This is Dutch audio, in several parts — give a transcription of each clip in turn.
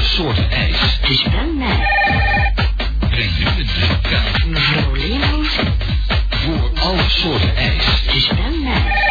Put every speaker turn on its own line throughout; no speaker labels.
soorten ijs.
Ich bin nett.
Breng nu een drukkaart
Violinen.
voor alle soorten ijs.
Ich bin nett.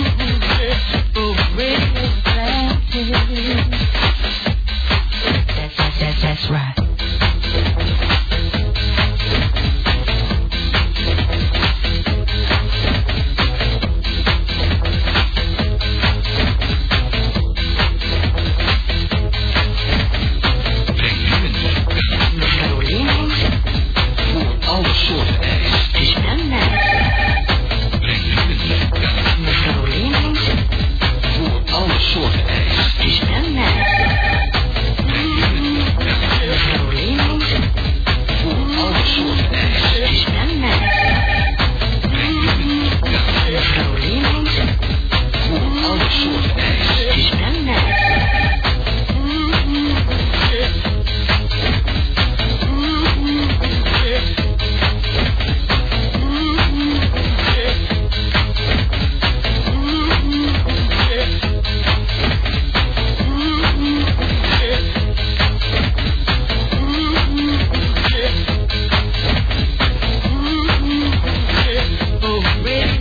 Oh, wait. That's, that's, that's, that's right.
Breng nu een drukkaart
Violinen.
voor alle soorten ijs.
Ich bin nett.
Breng nu een drukkaart
Violinen.
voor alle soorten ijs.
Ich bin nett. Violinen.
Voor alle soorten ijs.
Ich bin nett. Violinen.
Voor alle soorten
Oh,
ijs.
Ich bin nett. Oh, really?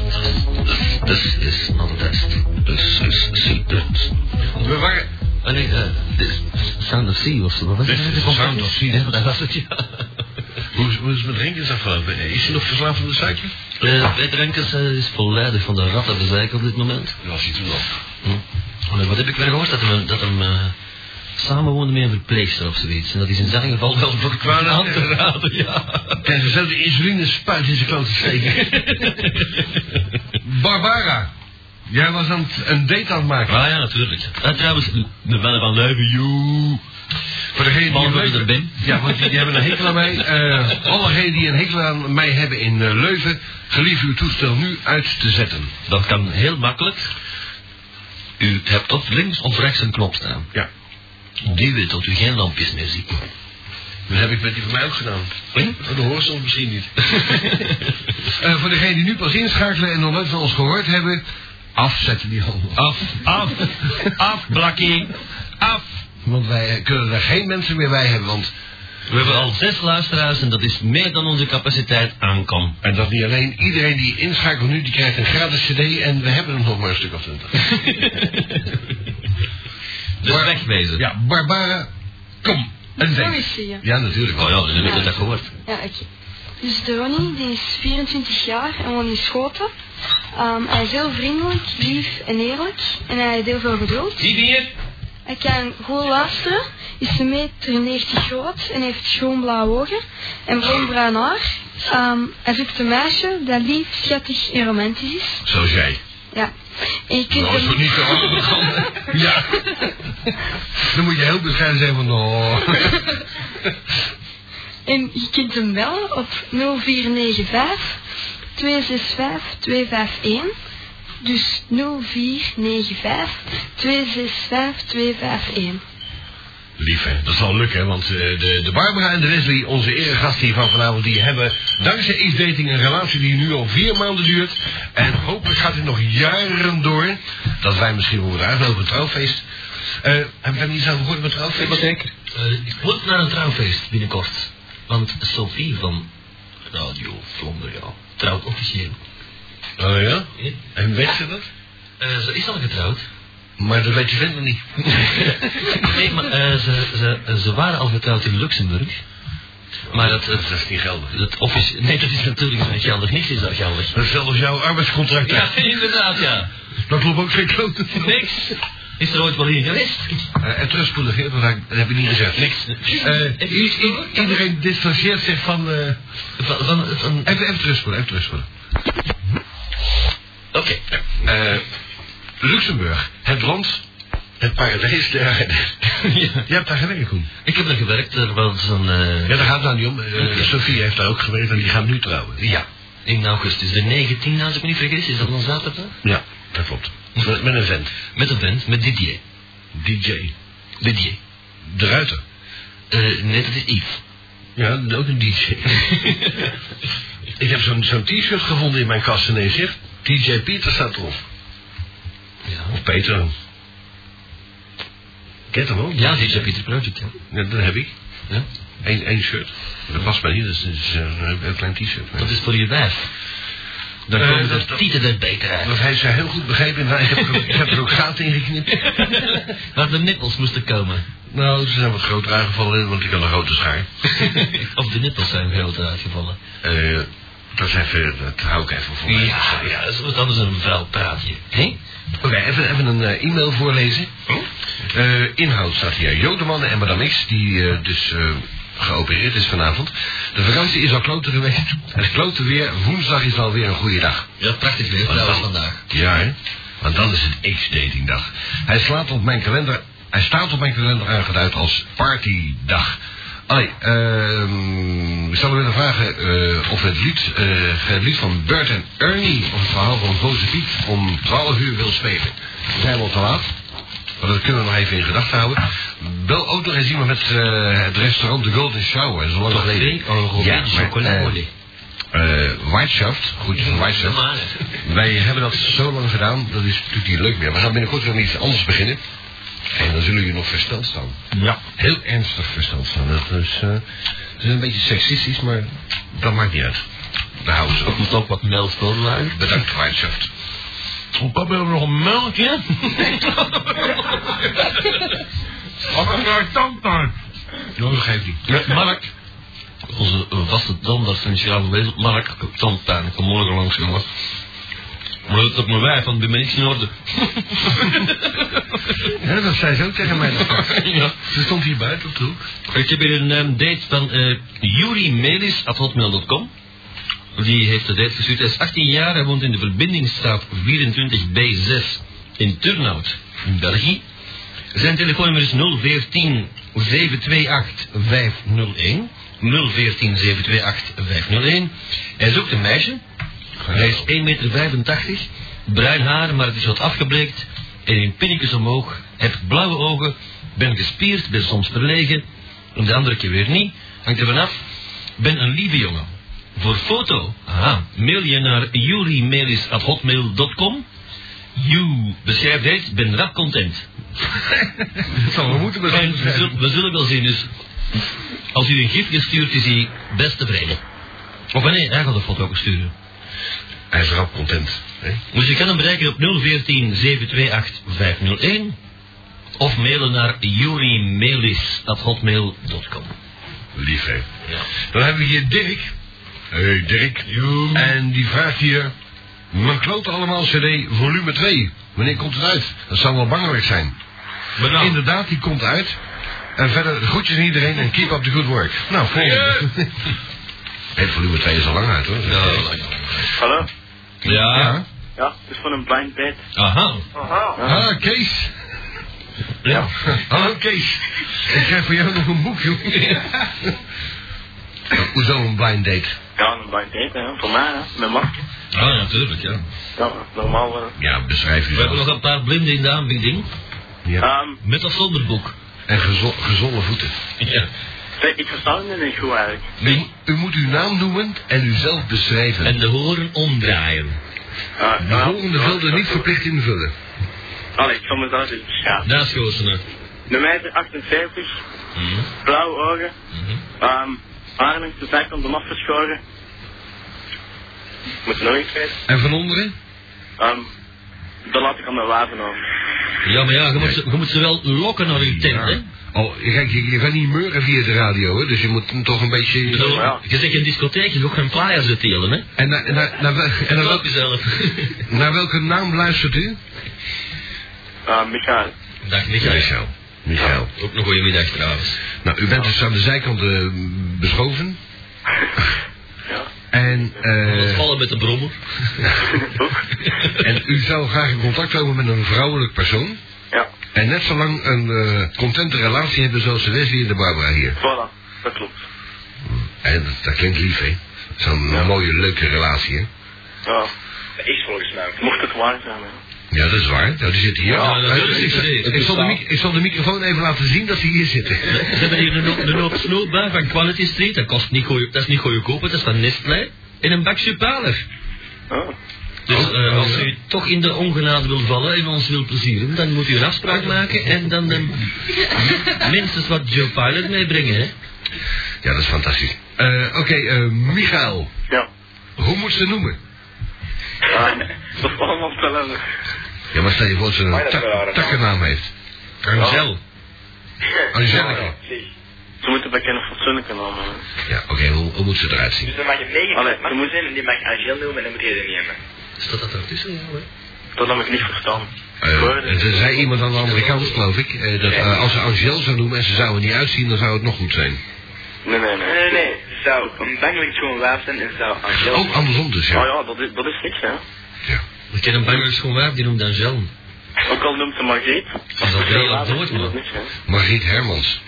This is not a test. This is secret.
We waren...
Ah, nee, eh, this- Sound of Sea of zo. Wat was
Dit
het?
is Sound of Sea.
Ja, dat was het, ja.
Hoe is, hoe is mijn drinkensafval? eh, Is hij nog verslaafd aan de suiker?
Eh, Bij Drenkers eh, is volledig van de ratten bezeiken op dit moment.
Dat was hij toen al.
Hm. Allee, Wat heb ik weer gehoord? Dat hem, dat hem eh, samenwoonde met een verpleegster of zoiets. En dat is in zijn geval wel voor
wou net
aan te
zeggen.
raden, ja.
Krijg je zelf de insuline spuit in zijn kloot te steken. Barbara, jij was aan het, een date aan het maken.
Ah ja, natuurlijk. En trouwens, de mannen van Leuven, joe.
Voor degene die
Behalve
in Leuven-
dat ik er ben.
Ja, want die, die hebben een hekel aan mij. Eh Allegenen die een hekel aan mij hebben in eh, Leuven, gelief uw toestel nu uit te zetten.
Dat kan heel makkelijk. U hebt tot links of rechts een knop staan.
Ja.
Die wil dat u geen lampjes meer ziet.
Dat heb ik met die van mij ook gedaan. Oh,
Hm?
Dat horen soms misschien niet. Eh, voor degenen die nu pas inschakelen en nog nooit van ons gehoord hebben, afzetten die handen.
Af, af, af, brakkie, af.
Want wij eh, kunnen er geen mensen meer bij hebben, want...
We hebben al zes luisteraars en dat is meer dan onze capaciteit aankan.
En dat niet alleen. Iedereen die inschakelt nu, die krijgt een gratis cd en we hebben hem nog maar een stuk of twintig.
Dus
Maar-
wegwezen.
Ja, Barbara, kom. Een date.
Morrissey, ja.
Ja, natuurlijk
Oh
wel.
ja, dan heb ik dat gehoord.
Ja, oké. Dus de Ronnie, die is 24 jaar en woont in Schoten. Ehm, hij is heel vriendelijk, lief en eerlijk. En hij heeft heel veel geduld.
Die hier?
Hij kan goed luisteren, is 1,90 meter groot en heeft schoonblauwe ogen en bruinbruin haar. Ehm, hij zoekt een meisje dat lief, schattig en romantisch is.
Zoals jij.
Ja. En je kunt
Nou, is
hem...
toch niet zo aan de kant? Ja. Dan moet je heel bescheiden zijn van... Oh.
En je kunt hem bellen op 0495 265 251. Dus 0495 265 251.
Lief, hè? Dat zal lukken, want eh, de, de Barbara en de Wesley, onze eregast hier van vanavond, die hebben dankzij Ace Dating een relatie die nu al vier maanden duurt. En hopelijk gaat dit nog jaren door. Dat wij misschien worden uitgenodigd op een trouwfeest. Eh, heb ik daar niet eens over gehoord op een trouwfeest?
Wat zeker? Eh, ik moet naar een trouwfeest binnenkort. Want Sophie van Radio Vlonderen trouwt officieel.
Oh ja?
Ja.
En weet ze dat?
Eh, ze is al getrouwd.
Maar dat weet je verder niet.
Nee, maar eh, ze, ze, ze waren al getrouwd in Luxemburg. Maar dat,
Dat
het,
is niet geldig.
het office... Nee, dat is natuurlijk niet geldig. Niks is dat geldig.
Dat is zelfs jouw arbeidscontract.
Ja, inderdaad, ja.
Dat klopt ook geen klote.
Niks. Is er ooit wel hier geweest?
Eh, en terugspoelig, hè, dat, dat heb ik niet gezegd.
Niks.
Eh,
Even-
i- i- iedereen distancieert zich van... eh,
Van, van, van-
Even, even terugspoelen, even terugspoelen.
Oké.
Eh, Luxemburg, het land, het paradijs der aarde.
Ja.
Je hebt daar gewerkt, Koen.
Ik heb er gewerkt, er was een... eh,
Ja, daar gaat het nou niet om. Eh, Sophie heeft daar ook gewerkt en die gaat nu trouwen.
Ja, in augustus. De 19e, als ik me niet vergis, is dat een zaterdag?
Ja, dat klopt. Met, met een vent.
Met een band, met Didier.
DJ.
Didier.
De Ruiter.
Eh, nee, dat is Yves.
Ja, dat is ook een DJ. Ik heb zo'n zo'n t-shirt gevonden in mijn kast ineens, zeg. DJ Pieter staat erop.
Ja,
Of Peter. Kent hem wel?
ja DJ Peter Project, ja.
Ja, dat heb ik.
ja.
Eén één shirt. Dat past mij niet, dat is, dat is, eh, een, een klein t-shirt.
Dat is voor je wijf. Dan
Eh,
komen
dat-
de
dat-
tieten er beter uit.
Dat heeft ze heel goed begrepen. Nou, ik, heb er, ik heb er ook gaten in geknipt.
Waar de nippels moesten komen.
Nou, ze zijn wat groter aangevallen, want ik had een grote schaar.
of de nippels zijn groter uitgevallen.
Eh, dat, is even, dat hou ik even voor. mij.
Ja, ja, dat is wat anders dan een vuil praatje. Hé?
Oké, even, even een eh, e-mail voorlezen. Eh, inhoud staat hier. Jodeman en Madame X, die eh, dus eh, geopereerd is vanavond. De vakantie is al kloten geweest. Het klote weer. Woensdag is alweer een goede dag.
Ja, prachtig
Oh,
weer trouwens vandaag.
Ja, hè? Want dan is het X-datingdag. Hij, slaat op mijn kalender, hij staat op mijn kalender aangeduid als partydag. Allee, ehm ik zou willen vragen eh, of het lied, eh, het lied van Bert en Ernie... of het verhaal van Boze Piet om 12 uur wil spelen. Zijn we al te laat? Maar dat kunnen we nog even in gedachten houden. Bel ook nog eens iemand met eh, het restaurant De Golden Shower. Dat is lang geleden.
Café, een robin,
Ja, maar,
chocola.
eh, eh, Whiteshaft, goed, Whiteshaft.
Ja, maar, hè.
Wij hebben dat zo lang gedaan, dat is natuurlijk niet leuk meer. We gaan binnenkort weer met iets anders beginnen. En dan zullen jullie nog versteld staan.
Ja.
Heel ernstig versteld staan. Dat is, eh, dat is een beetje seksistisch, maar dat maakt niet uit. Daar houden ze
Ik
ook.
moet ook wat melk voorlagen.
Bedankt, Whiteshaft.
Papa wil nog een melkje.
Wat een raar tandarts. Nou, dat geeft niet.
Met Mark. Onze eh, vaste tandarts in Sjaal geweest. Mark, ik heb tandpijn. Ik kom morgen langs, jongen. Maar dat is op mijn wijf, want bij mij niks in orde.
Ja, dat zei ze ook tegen mij.
ja.
Ze stond hier buiten op de hoek.
Ik heb hier een ehm, date van eh Yuri Melis, at hotmail.com. Die heeft de date gestuurd. Hij is 18 jaar, hij woont in de verbindingsstraat 24B6 in Turnhout, in België. Zijn telefoonnummer is 014 728 501. 014 728 501. Hij zoekt een meisje. Hij is 1,85 meter, bruin haar, maar het is wat afgebleekt. En in pinnetjes omhoog, heeft blauwe ogen, ben gespierd, ben soms verlegen. En de andere keer weer niet, hangt er vanaf. Ben een lieve jongen. Voor foto, aha, mail je naar jurimelis.hotmail.com. You, beschrijf dit, ben rap content.
Dat zal we moeten
En we zullen, we zullen wel zien, dus als u een gifje stuurt, is hij best tevreden. Of nee, hij gaat de foto ook sturen.
Hij is rap content. Hè?
Dus je kan hem bereiken op 014 728 501 of mailen naar jurimelis.hotmail.com.
Lief, hè?
Ja.
Dan hebben we hier Dirk. Hé, hey, Dirk. En die vraagt hier... Mijn klote allemaal cd volume 2. Wanneer komt het uit? Dat zou wel belangrijk zijn.
Nou.
Inderdaad, die komt uit. En verder, groetjes aan iedereen en keep up the good work. Nou, volgende. Hey, volume 2 is al lang uit, hoor. Ah.
Hallo?
Ja.
Ja.
Ja, het is van een blind date.
Aha.
Ah, Kees.
Ja.
Hallo, Kees. Ik krijg voor jou nog een boek, joh. Oh, Hoezo een blind date?
Ja, een blind date, hè. Voor mij, hè. Met Mark.
Ah, natuurlijk, ja.
Ja, normaal. eh.
Ja, beschrijf
We hebben nog
jezelf.
Ah.
een paar blinden in de aanbieding.
Ja.
Ehm,
Met of zonder boek.
en gezo- gezonde voeten.
Ja.
Zeg, ik versta het niet goed eigenlijk.
U, u moet uw naam noemen en uzelf beschrijven.
En de horen omdraaien.
Ah,
de
ah,
volgende
ah,
velden
dat
niet
is-
verplicht invullen.
Allee, ik zal me daar eens beschaven.
Daar schoten we.
De meter 78,
Mhm.
blauwe ogen,
Mhm.
ehm haar langs de zijkant om afgeschoren. Moet nog iets weten.
En van onderen?
Ehm dat laat ik aan mijn wapen over.
Ja, maar ja, je moet, ze, je moet ze wel lokken naar uw tent, hè?
Oh, kijk, je, je gaat niet meuren via de radio, hè, dus je moet hem toch een beetje...
Ik bedoel,
Ja.
Je zegt in discotheek, je gaat geen plaaiers uitdelen, hè?
En, na- en, na- naar wel- en naar,
Loop
welke,
jezelf.
naar welke naam luistert u?
Ehm Michael.
Dag, Michael.
Michael.
Ook een goede middag trouwens.
Nou, u bent dus aan de zijkant eh, beschoven.
Ja.
En,
Wat
eh,
vallen met de brommer.
en u zou graag in contact komen met een vrouwelijk persoon.
Ja,
En net zo lang een eh, contente relatie hebben zoals de Wesley en de Barbara hier.
voilà. Dat klopt.
En dat, dat klinkt lief, hè? Zo'n
Ja.
mooie, leuke relatie, hè?
Ja. Dat is volgens mij. Mocht het waar zijn, hè.
Ja, dat is waar. Nou, die zitten hier.
Ja,
Ah,
natuurlijk
eh, ik,
zitten die.
ik zal de mic- ik zal de microfoon even laten zien dat ze hier zitten.
Ze hebben hier een, hoop- een hoop snoep bij van Quality Street. Dat, kost niet goeie, dat is niet goedkoop, dat is van Nestlé. In een bakje paler.
Oh.
Dus
Oh,
eh,
oh,
als
ja.
u toch in de ongenade wil vallen en ons wil plezieren, dan moet u een afspraak maken en dan eh, minstens wat Joe Pilot meebrengen, hè?
Ja, dat is fantastisch. Eh, Oké, eh, Michael.
Ja.
Hoe moet ze noemen?
Ehm, dat is allemaal hetzelfde.
Ja, maar stel je voor dat ze
Maar
een
dat is wel
tak-
raar.
takkennaam heeft. Oh,
Angel.
Oh.
Angelica.
Ze moeten bij een fatsoenlijke naam hebben.
Ja, oké, hoe, hoe moet ze eruit zien?
Dus dan mag je
Allee,
negen
je
mag
moet-
zijn en die mag je Angel noemen en dan moet je er niet hebben.
Staat dat ertussen? Ja, hoor.
Dat heb ik niet verstaan.
Eh,
Woorden.
er zei iemand aan de andere kant, geloof ik, eh, dat eh, als ze Angel zou noemen en ze zou er niet uitzien, dan zou het nog goed zijn.
Nee,
Nee,
nee, nee.
nee, nee. Ze zou een bangelijk gewoon waaf zijn en ze zou Angel
Oh, andersom dus,
Oh
ja.
ja, dat is, dat is niks, hè.
ja.
Ik ken een bangers gewoon waar, die noemt Angel.
Ook al noemt ze Margriet.
Dat wil je al
is
dood,
dat
man.
niks, hè.
Margriet Hermans.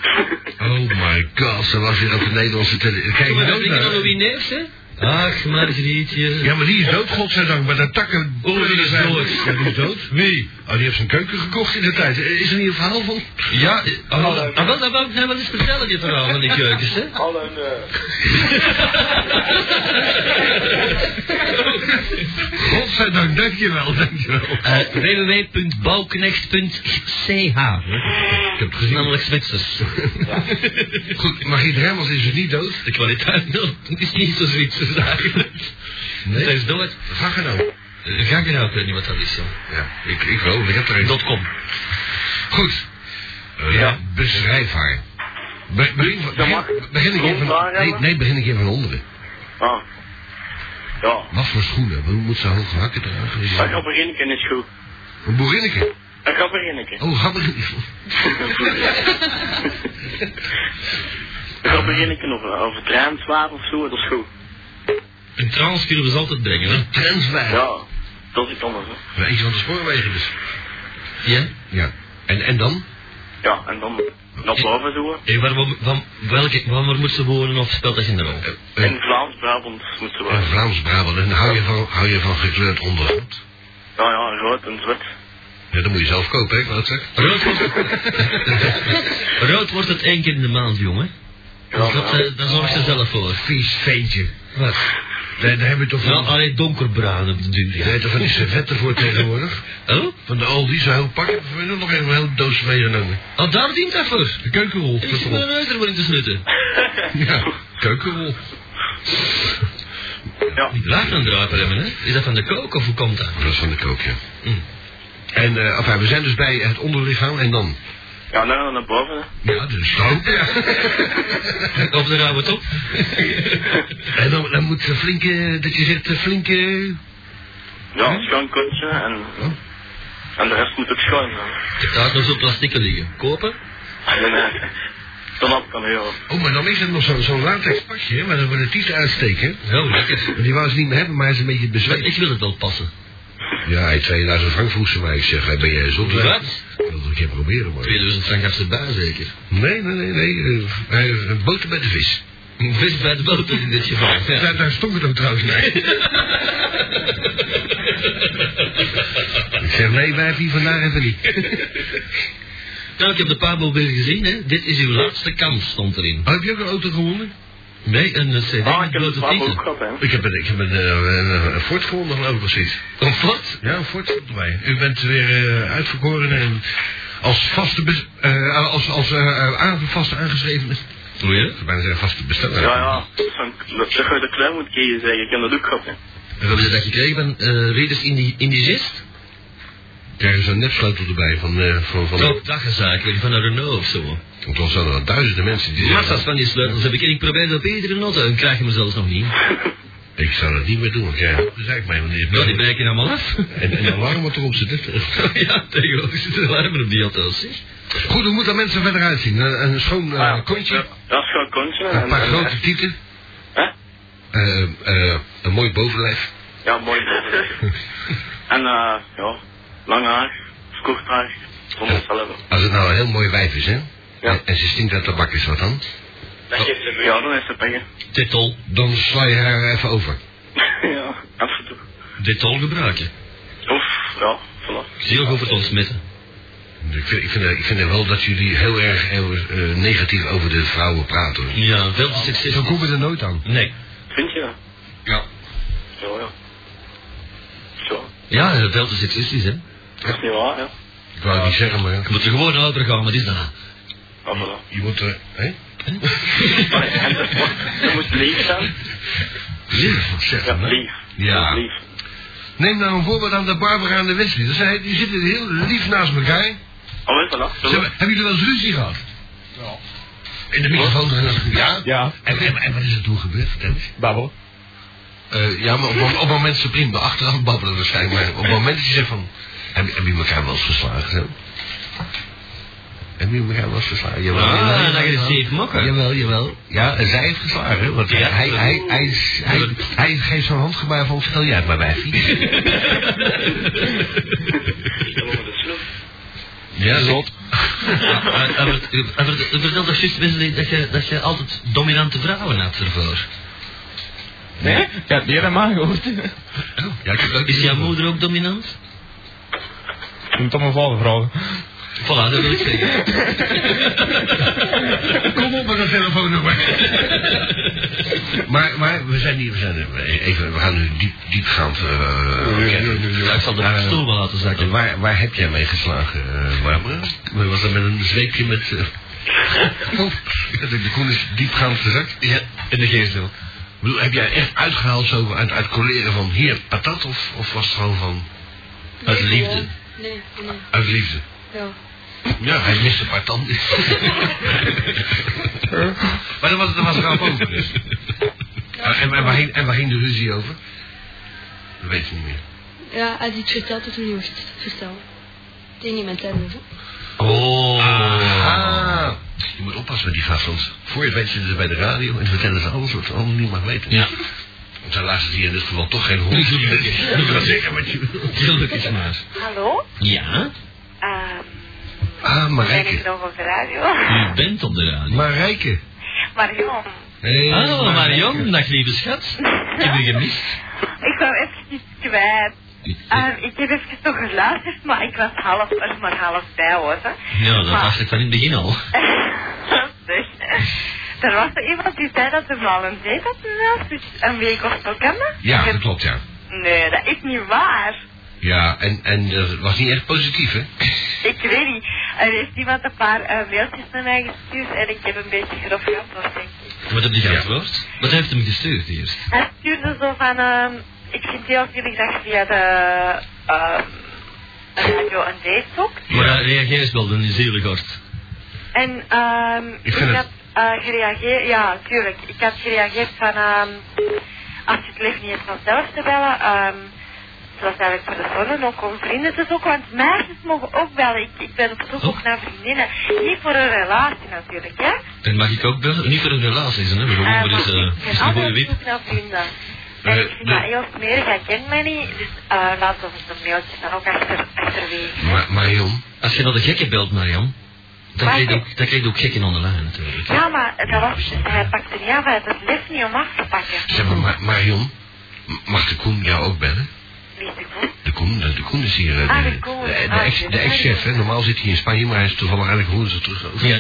Oh my god, ze was weer op de Nederlandse televisie. Kijk,
Maar we
nou
drinken
naar-
nog wie neefs, hè? Ach, Margrietje.
Ja, maar die is dood, godzijdank. Maar dat takken...
Oh, die is dood.
Ja, die is dood. Wie? Oh, die heeft zijn keuken gekocht in de tijd. Eh, Is er niet een verhaal van? Oh,
Ja, eh, ah, wel, ah, wel, dat wou ik nou wel eens vertellen, dit verhaal van die keukens, hè?
Al een... eh,
Godzijdank, dankjewel, dankjewel.
Eh, www.bouwknecht.ch Ik heb het gezien. Namelijk Zwitsers.
Goed, Margriet Hermans is dus niet dood.
De kwaliteit no, is niet zo Zwitsers eigenlijk.
Nee.
Dat is dood.
Ga gaan nou.
Eh, Ga ik nou, ik weet niet wat dat is, joh.
Ja, ik, ik wel, ik heb er een.
Dot .com.
Goed. Eh,
Ja.
ja, beschrijf haar. Be- begin, van-
Dat
begin,
mag.
begin ik even van...
Ronddraaien,
Nee,
maar.
nee, begin ik even van onderen.
Ah. Ja.
Wat voor schoenen? Hoe moet ze hoge hakken dragen? Is
Een
het-
gabberinneke is goed.
Een boerinneke.
Een gabberinneke.
Oh, gabberinneke.
Een gabberinneke of, of een traanswaard of zo, dat is goed.
Een trans kunnen we ze altijd brengen, hè?
Transwijn.
Ja. Dat is iets anders, hè.
Eentje van de spoorwegen dus.
Ja?
Ja. En, en dan?
Ja, en dan naar boven zo.
En Eh, waar, waar, waar- welke, waar moet ze wonen of speelt dat geen rol?
Eh,
In Vlaams-Brabant moeten
en
we.
Vlaams-Brabant. En hou je van, hou je van gekleurd ondergoed?
Ja, ja, rood en zwart.
Ja, dat moet je zelf kopen, hè, ik wou het zeggen.
Rood wordt, rood wordt het één keer in de maand, jongen. Dus dat, eh, daar zorg ze zelf voor.
Vies veentje.
Wat?
Nee, daar heb je toch
Nou,
van...
alleen donkerbruin op de duur.
Daar heb je toch van die servetten voor tegenwoordig?
Oh?
Van de Aldi, zo'n heel pak. Of hebben we nog even een hele doos meegenomen?
oh, daar dient dat voor.
De keukenrol.
Ik zit mijn neus erin te snutten.
Ja, keukenrol.
Ja.
Laat dan druipen hebben, hè? Is dat van de kook of hoe komt dat?
Dat is van de kook, ja.
Hm.
En, eh, enfin, we zijn dus bij het onderlichaam en dan?
Ja, nou dan naar boven. hè.
Ja, dus dan.
Of daar houden we het op.
En dan, dan moet ze flinke, dat je zegt, eh, flinke...
Ja, een schoon kontje en. En de rest moet ook schoon zijn.
Daar is nog zo'n plastieke liggen. Kopen?
Nee, nee. Dat had ik dan heel.
Oh, maar dan is het nog zo'n zo latex pasje, hè, maar dan wordt het tieten uitsteken.
Heel lekker.
Die wou ze niet meer hebben, maar hij is een beetje
Maar
bezweet.
Ik wil het wel passen.
Ja, hij 2000 frank vroeg ze mij. Ik zeg, hey, ben jij zot?
Wat?
Ik wil het een keer proberen, maar...
2000 frank gaf ze bij, zeker.
Nee, nee, nee, nee. eh, hij- eh, boter bij de vis.
Een Vis bij de boter in dit geval. Ja.
Daar, daar stond het ook trouwens naar. ik zeg, nee, wij hebben hier vandaag even niet.
Nou, ik heb de Pabo weer gezien, hè. Dit is uw laatste kans, stond erin.
Oh, heb je ook een auto gewonnen?
Nee, een eh, CD
Ah,
met
ik heb het
blote
Pabo ook
tieten.
gehad, hè.
Ik heb een, ik heb een, eh, een, een Ford gewonnen, geloof ik precies.
Een fort?
Ja, een Ford stond erbij. U bent weer eh, uitverkoren en als vaste, bes- eh, als, als eh, eh, aan- vaste aangeschreven. Ik
Hoe je?
zou bijna zeggen vaste besteller.
Ja, ja. Zo'n- Dat zeg je de klem moet kiezen, zeg. Ik heb dat ook gehad, hè.
En wat is dat gekregen? Ben eh Readers Indi- Indigest?
Daar is een nepsleutel erbij van, eh, van, van,
Ook daggenzaak, weet je, van een Renault of zo.
Want er zijn er duizenden mensen die zeggen,
Massa's van die sleutels heb ik en ik probeer dat op iedere nota en krijg je me zelfs nog niet.
ik zou dat niet meer doen, want jij dus ik mij wanneer
Nou, die breken allemaal af.
en, en de alarm wat erop zit. hè.
ja, tegenwoordig zitten er alarmen op die auto's, zeg.
Goed, hoe moet dat mensen verder uitzien? Een, een schoon eh,
Ah, ja.
kontje,
Dat is gewoon kontje.
een
en-
paar
en-
grote tieten,
Hè?
eh, eh, een mooi bovenlijf.
Ja, mooi. en eh, ja, lang haar, of kort haar, soms hetzelfde.
Als het nou een heel mooi wijf is, hè?
Ja.
En, en ze stinkt uit tabak, is wat dan?
Dan geeft ze
Ja,
me.
dan is het pengen.
Detol,
Dan sla je haar even over.
ja, af en toe.
detol gebruiken.
Of, ja, voilà.
Heel goed voor het ontsmetten.
Ik vind, ik, vind, ik vind wel dat jullie heel erg heel, eh, negatief over de vrouwen praten. hoor.
Ja, veel te succes.
Zo komen we er nooit aan.
Nee.
Vind je dat?
Ja.
Ja, ja. Zo,
Ja, eh, veel te seksistisch, hè.
dat is niet waar, hè.
Ik wou het niet zeggen, maar ja.
Je moet er gewoon over gaan, wat is dat?
Ja, voilà.
je moet er... Hè?
Maar, en dat moet- dat moet lief zijn.
Lief, wat zeg
Ja,
dan, hè?
lief.
Ja.
Lief.
Neem nou een voorbeeld aan de Barbara en de Wesley. Dat zijn, die zitten heel lief naast elkaar.
Oh, weet je wat?
Ze hebben, hebben jullie wel eens ruzie gehad?
Ja.
In de microfoon? eh, Ja.
Ja,
En, en, en wat is er toen gebeurd? Vertel eens.
babbel.
Eh, ja, maar op, op het moment ze prima. Achteraf babbelen waarschijnlijk. Maar op het moment dat je zegt van... Heb, heb je elkaar wel eens geslagen? Zo? Heb je elkaar wel eens geslagen? Jawel,
Ah,
jawel,
een
jawel,
agressief
jawel.
mokken.
Jawel, jawel. Ja, en zij heeft geslagen. hè, Want
Ja.
hij, hij, hij, is- hij, hij, geeft zo'n handgebaar van... Vertel jij het maar, wijfie.
Dan moeten we
dus
de sloep.
Ja,
Zot.
Vertel toch juist, Wesley, dat je, dat je altijd dominante vrouwen had ervoor.
Nee? Ik heb het meer dan maar gehoord.
Ja, ik heb dat
Is jouw moeder ook dominant?
Je moet om mijn vader vragen.
Voilà, dat wil ik zeggen.
Kom op met dat telefoonnummer. maar, maar we zijn hier, we zijn er- even, we gaan nu diep, diepgaand. eh,
Ja, ik zal de
Eh,
stoel wel laten zakken.
Waar, waar heb jij mee geslagen, eh, Barbara? Was dat met een zweepje met... eh, oh, de koen is diepgaand gezakt.
Ja, in de geest ook.
Ik bedoel, heb jij echt uitgehaald zo uit, uit colleren van hier patat of, of was het gewoon van
Uit liefde.
Nee, nee,
uit liefde?
ja.
Ja, hij mist een paar tanden. maar dat was, dat was raam over dus. En, en, waar ging, en waar ging de ruzie over? Dat weet ik niet meer.
Ja, hij had iets verteld dat hij niet moest vertellen. Tegen iemand anders, hè.
Oh.
Ah, je moet oppassen met die gasten. want Voor je het weet zitten ze bij de radio en vertellen ze alles wat ze allemaal niet mag weten.
Ja,
Want zij laten hier in dit geval toch geen hond. Je kan zeggen wat je wil.
gelukkig maar.
Hallo?
Ja,
Ehm
Ah,
ben ik
Marijke.
nog op de radio?
u bent op de radio.
Marijke. Oh,
Marion,
Hey,
Hallo Marion, dag lieve schat. Ik heb je gemist.
ik wou even iets kwijt. Ehm, ik heb even nog geluisterd, maar ik was half, er maar half bij hoor. hè.
Ja, dat
Maar-
dacht ik van in het begin al.
dus, er was er iemand die zei dat er al een date had gemeld, dus een week of zo kan dat?
Ja,
Ik
dat
heb-
klopt, ja.
Nee, dat is niet waar.
Ja, en, en
eh,
dat was niet echt positief, hè?
Ik weet niet. Er heeft iemand een paar eh, mailtjes naar mij gestuurd en ik heb een beetje grof geantwoord, denk ik.
Wat heb je geantwoord? Wat heeft hem gestuurd eerst?
Hij stuurde zo van, ehm, ik vind heel veel graag via de ehm, radio een date zoekt.
Maar hij reageert wel, dan is heel hard.
En ehm,
Ik
ik,
vind het-
had eh, gereageerd, ja tuurlijk, ik had gereageerd van, ehm, als je het leeft niet eens vanzelf te bellen, ehm het was eigenlijk voor de zorgen ook om vrienden te zoeken, want meisjes mogen ook bellen. Ik, ik ben op zoek ook naar vriendinnen, niet voor een relatie natuurlijk, hè.
En mag ik ook bellen? Niet voor een relatie, hè? maar gewoon
Eh,
voor eens,
maar
eh,
ik ben
eens een goede
altijd
wip.
op zoek naar vrienden. En
Eh,
ik vind
de-
dat heel smerig, hij kent mij niet, dus eh laat ons het een mailtje dan ook achter, achterwege.
Ma Marion.
Als je naar de gekken belt, Marion, dan
Maar
krijg je
ik-
ook, dan krijg je ook gekken aan de lijn natuurlijk.
Ja, maar dat was, hij pakte niet af, hij had het lef niet om af te pakken.
Zeg maar, Ma- Marion. m- Mag de Koen jou ook bellen?
Wie is de Koen?
De Koen, de, de Koen is hier. eh, De,
Ah, de Koen.
de- de
Ah,
ex-
dit
de
is-
ex-chef, hè. Normaal zit hij in Spanje, maar hij is toevallig eigenlijk woensdag terug.
Ja.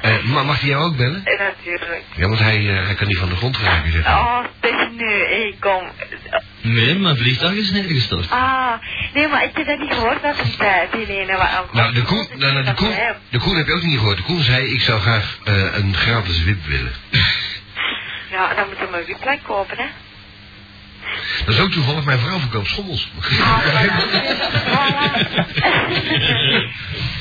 Eh, maar mag hij jou ook bellen?
Eh, Natuurlijk.
Ja, want hij, eh, hij kan niet van de grond raken, zeg maar.
Oh, zeg nu, hey, kom.
Nee, mijn vliegtuig is neergestort.
Ah, nee, maar ik heb dat niet gehoord dat eh, die tijd, Helene. Maar,
Nou, de Koen, nou, nou, de, Koen, de Koen heb je ook niet gehoord. De Koen zei, ik zou graag eh, een gratis wip willen.
Ja, dan moeten we een wiplijn kopen, hè.
Dat is ook toevallig, mijn vrouw verkoopt schommels.
Ah, voilà.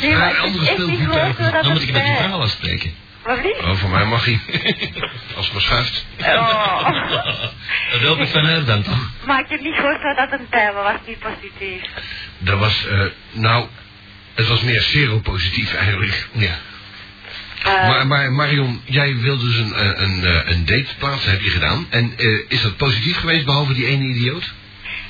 Nee,
Ja,
maar het
andere
is echt niet
speelgoed,
gehoord
eh,
hoor, dat
Dan moet
het
ik met die
zei.
verhaal afspreken.
Wat lief?
Oh, voor mij mag hij. Als het maar schuift.
Oh.
Dat hoop ik van haar dan toch.
Maar ik heb niet gehoord dat dat een tijd was die positief.
Dat was, eh, nou, het was meer seropositief eigenlijk. Ja.
Eh,
Maar, maar Marion, jij wilde dus een, eh, een, eh, een date plaatsen, heb je gedaan. En eh, is dat positief geweest, behalve die ene idioot?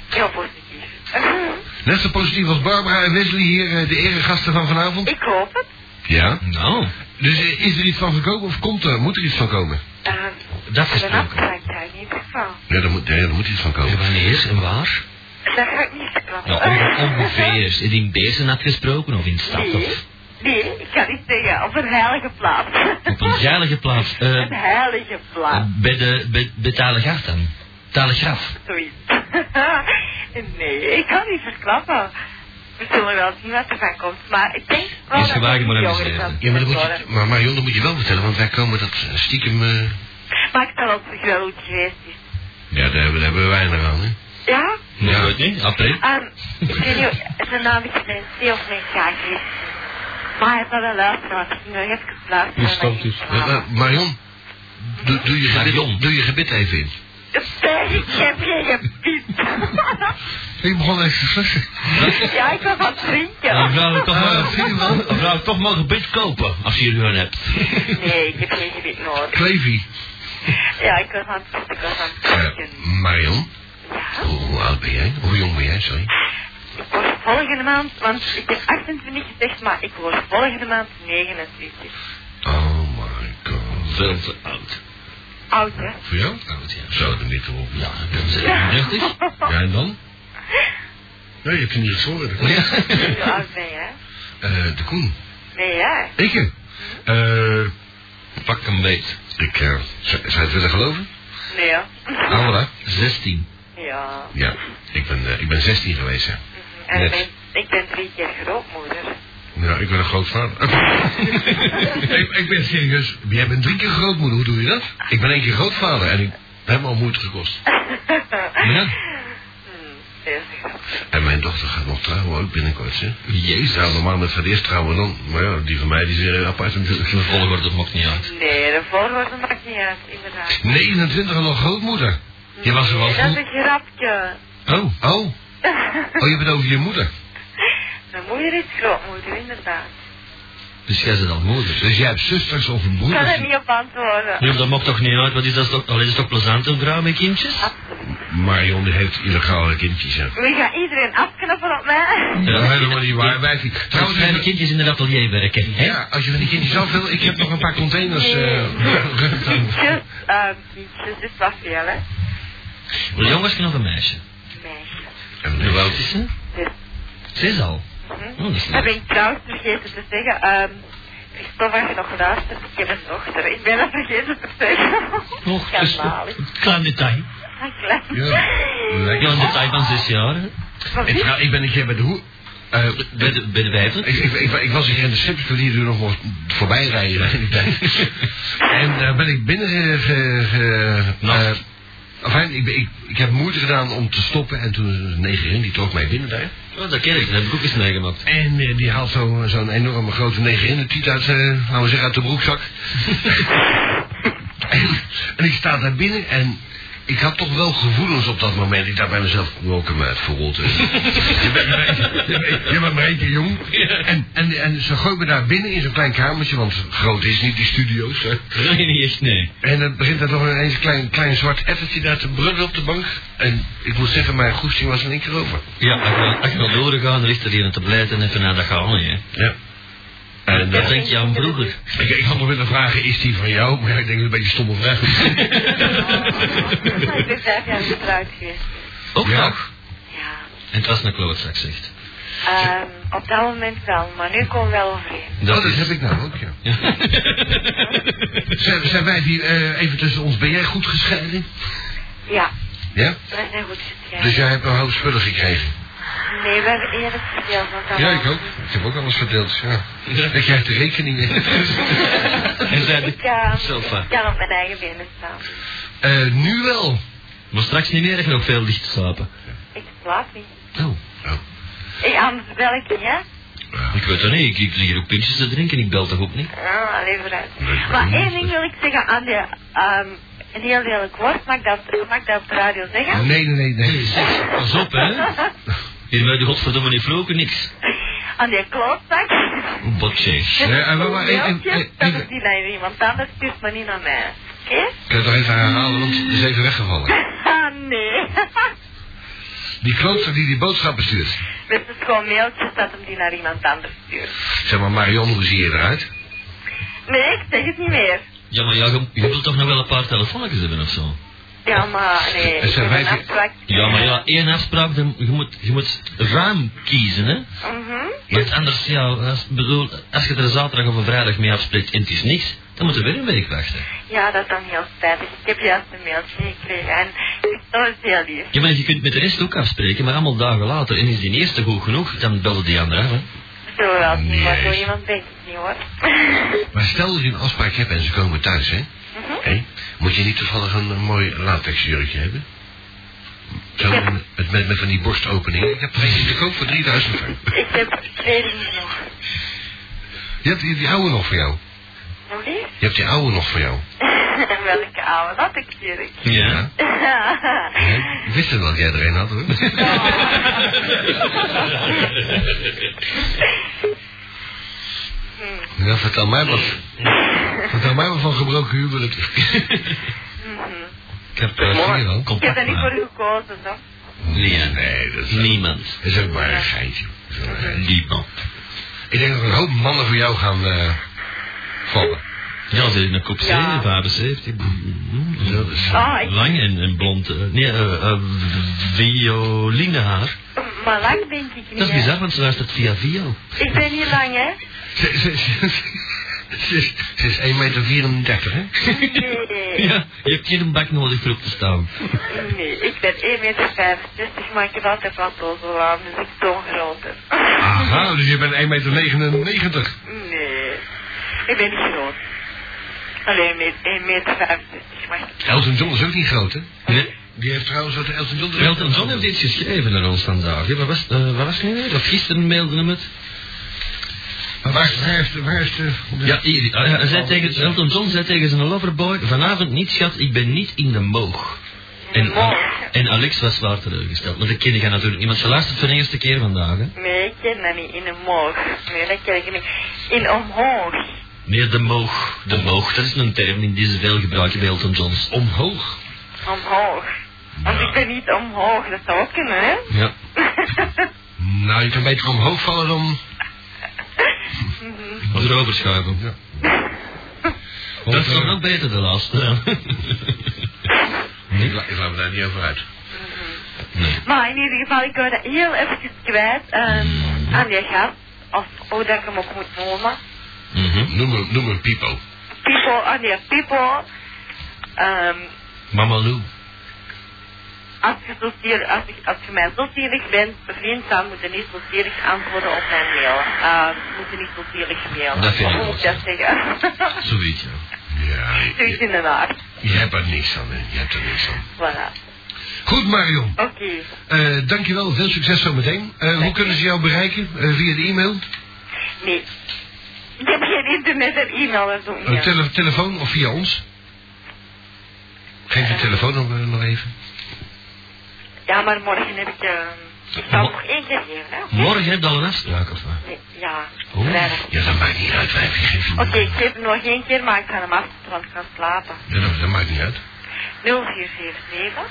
heel positief.
Net zo positief als Barbara en Wesley hier, eh, de eregasten van vanavond?
ik hoop het.
Ja.
Nou,
Dus eh, is er iets van gekomen of komt er, moet er iets van komen?
Eh,
dat
de nacht
gesproken.
ga ik daar niet van.
Ja, er moet, ja, er moet iets van
En
komen.
Wanneer en waar?
Dat ga ik niet verklappen.
Nou, onge- ongeveer. Is het in Bezen afgesproken of in de stad
Nee,
of
nee, ik kan niet zeggen. Op een heilige plaats.
op een veilige plaats? Eh,
een heilige plaats,
bij de, bij, bij Talegraaf dan? Talegraaf.
zoiets. nee, ik kan niet verklappen. We zullen wel zien wat er van komt. Maar ik denk wel
Is
dat
gewaagd,
het
maar
jonger
even
is dan
Ja, maar, dan moet je,
tevoren.
maar Marion, dat moet je wel vertellen, want wij komen dat eh, stiekem... eh,
Maar ik zal op zich wel hoe het geweest is.
ja, daar hebben, daar hebben wij nog aan, hè.
Ja?
Nee,
Ja.
weet niet. April.
Um, ik weet niet, of- zijn naam is Nancy of Nancy Maar hij heeft wel een luisteraar. Ik ging nog even luisteren.
Wie stamt is?
maar
Maar-
ik-
maar Marion, doe, doe, je gebit,
Marion.
doe je gebit even in.
Nee, Ik heb geen gepiep.
Ik begon even te flussen.
ja, ik was aan
Dan
het drinken.
vrouw ik toch
Ah, zie je wel.
maar, dan vrouw ik toch maar gebit kopen, als je er een hebt.
Nee, ik heb geen gebied nodig.
Clevy.
Ja, ik was aan het ik was aan het drinken.
Marion,
Ja,
hoe, hoe oud ben jij? Hoe jong ben jij, sorry?
ik word volgende maand, want ik heb 28 gezegd, maar ik word volgende maand 29.
Oh my god.
Veel te oud.
Oud, hè?
Voor jou?
Oud, ja.
Zo, dan niet erop.
Ja, dan zijn we 30.
Ja, en dan? Nee, je hebt je niet gesproken.
Hoe oud ben jij?
Eh, de Koen.
Nee, jij?
Ik hem. Eh,
Pak een beet.
ik, eh, zou, zou je het willen geloven?
Nee, ja.
Amara?
16.
Ja.
Ja, ik ben, eh, ik ben 16 geweest, hè.
En
Net.
ik ben, ik ben drie keer grootmoeder.
Ja, Nou, ik ben een grootvader. ik, ik ben serieus. Jij bent drie keer grootmoeder, hoe doe je dat? Ik ben één keer grootvader en ik heb me al moeite gekost. Ja.
Hmm, heel goed.
En mijn dochter gaat nog trouwen ook binnenkort, hè? Ja,
Jezus.
normaal met van eerst trouwen dan. Maar ja, die van mij die is weer apart natuurlijk.
De volgorde mocht niet uit.
Nee, de volgorde maakt niet uit, inderdaad.
29 en nog grootmoeder. Je was er wel
Nee, Dat is
goed.
een grapje.
Oh. Oh. Oh, je bent over je moeder.
Mijn moeder is grootmoeder, inderdaad.
Dus jij bent al moeder.
Dus jij hebt zusters of een
Ik kan
broeder.
er niet op antwoorden.
Nee, maar dat mocht toch niet uit? Wat is dat toch? Allee, dat is toch plezant een vrouw met kindjes?
Marion die heeft illegale kindjes, hè?
We gaan iedereen afknappen op mij.
Ja, helemaal niet waar. Wij
Trouwens,
Trouwens,
kleine kindjes in het atelier werken, hè?
Ja, als je van die kindjes af wil, ik heb nog een paar containers. eh
Kindjes, ehm, kindjes, dit was veel, hè.
Een jongensje of een meisje?
Meisje.
En
Hoe oud is ze?
Zes.
Zes al.
Mhm.
Oh, dat is
Dat ben
leuk.
ik trouwens vergeten te zeggen. ehm Christophe, als je nog luistert, ik heb een dochter. Ik ben dat vergeten te zeggen.
Nog
Kan
dus,
wel, ik-
een klein detail.
Ah, klein.
Ja.
Een klein detail van zes jaar. hè.
Wat is-
trouw- ik ben een keer bij de hoe. eh,
Bij de, bij de wijven.
ik, ik, ik, ik was hier in de Simpson die er nog mocht voorbij rijden in die tijd. En eh, ben ik binnen ge, ge, ge-
Nacht.
eh, enfin, ik, ben- ik, ik heb moeite gedaan om te stoppen en toen een negerin die trok mij binnen daar.
Oh, dat ken ik, daar heb ik ook eens meegemaakt.
En eh, die haalt zo- zo'n enorme grote negerinnentiet uit, eh, laten we zeggen, uit de broekzak. en, en ik sta daar binnen en ik had toch wel gevoelens op dat moment. Ik dacht bij mezelf, welke meid verrot. eh. je, bent maar, je, bent- je bent maar één keer jong. En, en, en ze gooit me daar binnen in zo'n klein kamertje, want groot is niet die studio's. Hè.
Nee, niet echt, nee.
En dan begint er nog ineens een klein, klein zwart effertje daar te brullen op de bank. En ik moet zeggen, mijn goesting was in één keer over.
Ja, als je wel- als je wil doorgaan, dan ligt er hier een tablet en even naar dat gaan, hè.
Ja. En, eh,
Dat denk je aan vroeger.
Ik, ik had nog willen vragen, is die van jou? Maar ja, ik denk dat is een beetje een stomme vraag.
Ik ben vijf jaar getrouwd geweest.
Ook
Ja.
nog? En het was een klootzak, zegt.
Ehm, op dat moment wel, maar nu komt wel overeen.
Dat, dat heb ik nou ook, ja. Zijn, zijn wij die eh, even tussen ons, ben jij goed gescheiden?
Ja,
Ja?
wij zijn goed gescheiden.
Dus jij hebt een hoop spullen gekregen?
Nee, we hebben eerder gespeeld. want dat
Ja,
was-
ik ook. Ik heb ook alles verdeeld, ja.
Ja.
Ik krijg de rekening mee.
en zei
Ik eh,
de sofa.
kan op mijn eigen benen staan.
Eh, nu wel.
Maar straks niet meer, ik ga nog veel licht slapen.
Ik slaap niet.
Oh.
Ik, anders bel ik niet, hè?
Ik weet het niet, ik, ik lig hier ook pintjes te drinken, ik bel toch ook niet.
Ah, alleen vooruit.
Nee, ik
Maar
weet
één
niet.
ding wil ik zeggen aan de... ehm een heel lelijk woord, mag ik dat, mag ik dat op de radio zeggen?
Nee, nee, nee.
Hey,
nee.
zeg, pas op, hè. Hier bij de godverdomme niet vloeken, niks.
Aan die klootzak.
Botje.
Nee, eh, maar- maar- eh, eh, eh,
Dat
eh,
is niet naar iemand anders, stuurt maar niet naar mij. Oké?
Ik kan het toch even herhalen, want het is even weggevallen.
Ah, nee.
Die klooster die die boodschappen stuurt.
Dus het is gewoon mailtjes dat hem die naar iemand anders stuurt.
Zeg maar, Marion, hoe zie je eruit?
Nee, ik zeg het niet meer.
Ja, maar ja, je, je wilt toch nog wel een paar telefoonnetjes hebben of zo?
Ja, maar nee.
Er zijn
ik ben
vijf-
afgezwakt.
Ja, maar ja, één afspraak, dan, je, moet, je moet ruim kiezen, hè.
Mhm.
Want anders, ja, als, bedoel, als je er zaterdag of een vrijdag mee afspreekt en het is niks, dan moet je weer een week wachten.
Ja, dat is dan heel spijtig. Ik heb juist een mailtje gekregen en dat was heel lief.
Ja, maar je kunt met de rest ook afspreken, maar allemaal dagen later. En is die eerste goed genoeg, dan belde die andere af, hè.
Zullen we wel zien, maar zo
Nee.
iemand weet het niet hoor.
Maar stel dat je een afspraak hebt en ze komen thuis, hè? Hé, Moet je niet toevallig een, eh, mooi latexjurkje hebben? Zo, met, met, met van die borstopeningen. Ik heb er eentje te koop voor 3000 frank.
ik heb twee dingen nog.
Je hebt die, die oude nog voor jou.
Nog niet?
Je hebt die oude nog voor jou.
Welke oude dat ik jurk.
Ja.
Hè? Ik wist het dat jij er een had, hoor. Ja, vertel mij wat. Vertel mij wat van gebroken huwelijk.
Mhm.
Ik heb eh,
Dat zie je wel.
ik heb
contact
er niet voor
maar.
gekozen toch?
Nee, hè.
Nee, dat is,
niemand.
dat is ook maar een geintje. Dat is wel een geintje.
Niemand.
Ik denk dat er een hoop mannen voor jou gaan eh, vallen.
Ja, ze is een kop 7, 75.
Zo, dat is-
Ah, ik,
Lang en, en blond. eh, Nee, eh, eh, violinehaar.
maar lang denk ik niet.
Dat is
hè.
bizar, want ze luistert via via.
Ik ben niet lang hè?
Ze, ze, ze, ze is, ze is 1,34 meter, hè?
Nee.
Ja, je hebt geen bak nodig voor op te staan.
Nee, ik ben 1,65 meter, maar ik heb altijd wat tozel aan, dus ik toon groter.
Aha, dus je bent 1,99 meter.
Nee, ik ben niet groot. Alleen 1,65 meter, maar
Elton John is ook niet groot, hè?
Nee.
Die heeft trouwens wat Elton John...
Elton John heeft iets geschreven naar ons vandaag. hè. Wat was, eh, wat was het nu weer? Of gisteren mailde hem het?
Maar waar, is- waar is de... Waar is de, de-
Ja, hier, eh, hij zei tegen, Elton John zei tegen zijn loverboy... Vanavond niet, schat, ik ben niet in de moog. En, en Alex was zwaar teleurgesteld. Maar dat ken ik natuurlijk niet, want ze luistert voor de eerste keer vandaag. Hè?
nee, ik ken dat niet. In de moog. Nee, dat ken ik niet. In omhoog.
Nee, de moog. De moog, dat is een term die ze veel gebruiken bij Elton Johns.
Omhoog.
Omhoog. Want
Ja.
ik ben niet omhoog, dat zou ook kunnen, hè?
Ja.
Nou, je kan beter omhoog vallen dan...
Erover schuiven.
Ja.
Dat is toch nog beter de laatste.
Ik, la- ik laat me daar niet over uit.
Maar in ieder geval, ik wou dat heel eventjes kwijt ehm, aan die gast. Of hoe dat ik hem ook moet noemen.
Mhm.
Noem hem, noem hem Pipo.
People, aan die people. Ehm,
Mama Lou.
als, je zo zielig, als, ik, als je mij zo zielig bent, vriend, dan moet je niet zo zielig antwoorden op mijn mail. Ehm, moet je niet zo zielig mailen.
Dat vind ik
Hoe
wel
moet ik dat zeggen?
Zoiets, ja.
Ja,
Zoiets
je,
in de nacht.
je hebt er niks aan, hè. Je hebt er niks aan.
Voilà.
Goed, Marion.
Oké.
Eh, dankjewel, veel succes zometeen. Eh, hoe
Dank
kunnen
je.
ze jou bereiken? Eh, via de e-mail,
Nee. Ik heb geen internet en e-mail en zo.
eh,
meer.
tele- telefoon of via ons? Geef je telefoon nog, eh, nog even.
Ja, maar morgen heb ik... ehm, Ik zal nog één keer geven, hè?
Morgen heb je al een afspraak, of wat?
Nee, Ja,
Oh.
vrijdag.
Ja, dat maakt niet uit, wij geef je
Oké, ik geef hem nog één keer, maar ik ga hem af, want ik ga slapen.
Ja, dat, dat maakt niet uit.
0447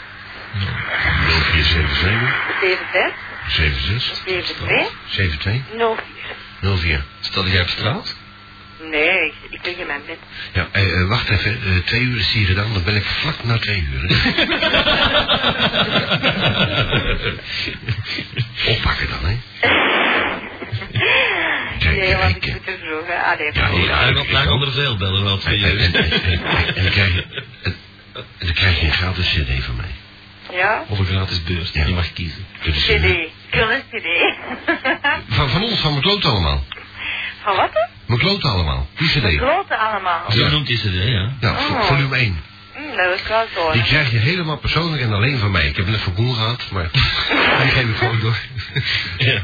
0477
76
76
72
72
04.
04.
Stel jij op straat?
Nee, ik, ik lig in mijn bed.
Ja, eh, eh, wacht even. eh, twee uur is hier gedaan, dan ben ik vlak na twee uur. hè.
heeft.
Ja, heel
Daar
aardig.
komt- daar komt er veel bellen, want
En, en, en, en, en, en dan krijg je,
serieus.
en, en dan krijg je een gratis cd van mij.
Ja?
Of een gratis beurt,
Ja.
je mag kiezen.
Dit is een-
CD. Ik wil een CD.
Van, van ons, van mijn klote allemaal.
Van wat? dan?
Mijn klote allemaal. Die cd.
Grote allemaal.
Zo noemt hij ze, hè, ja.
Ja, vo-
Oh.
volume 1.
Hm, dat is wel zo.
Die krijg je helemaal persoonlijk en alleen van mij. Ik heb net van Koen gehad, maar die geef ik gewoon door.
ja.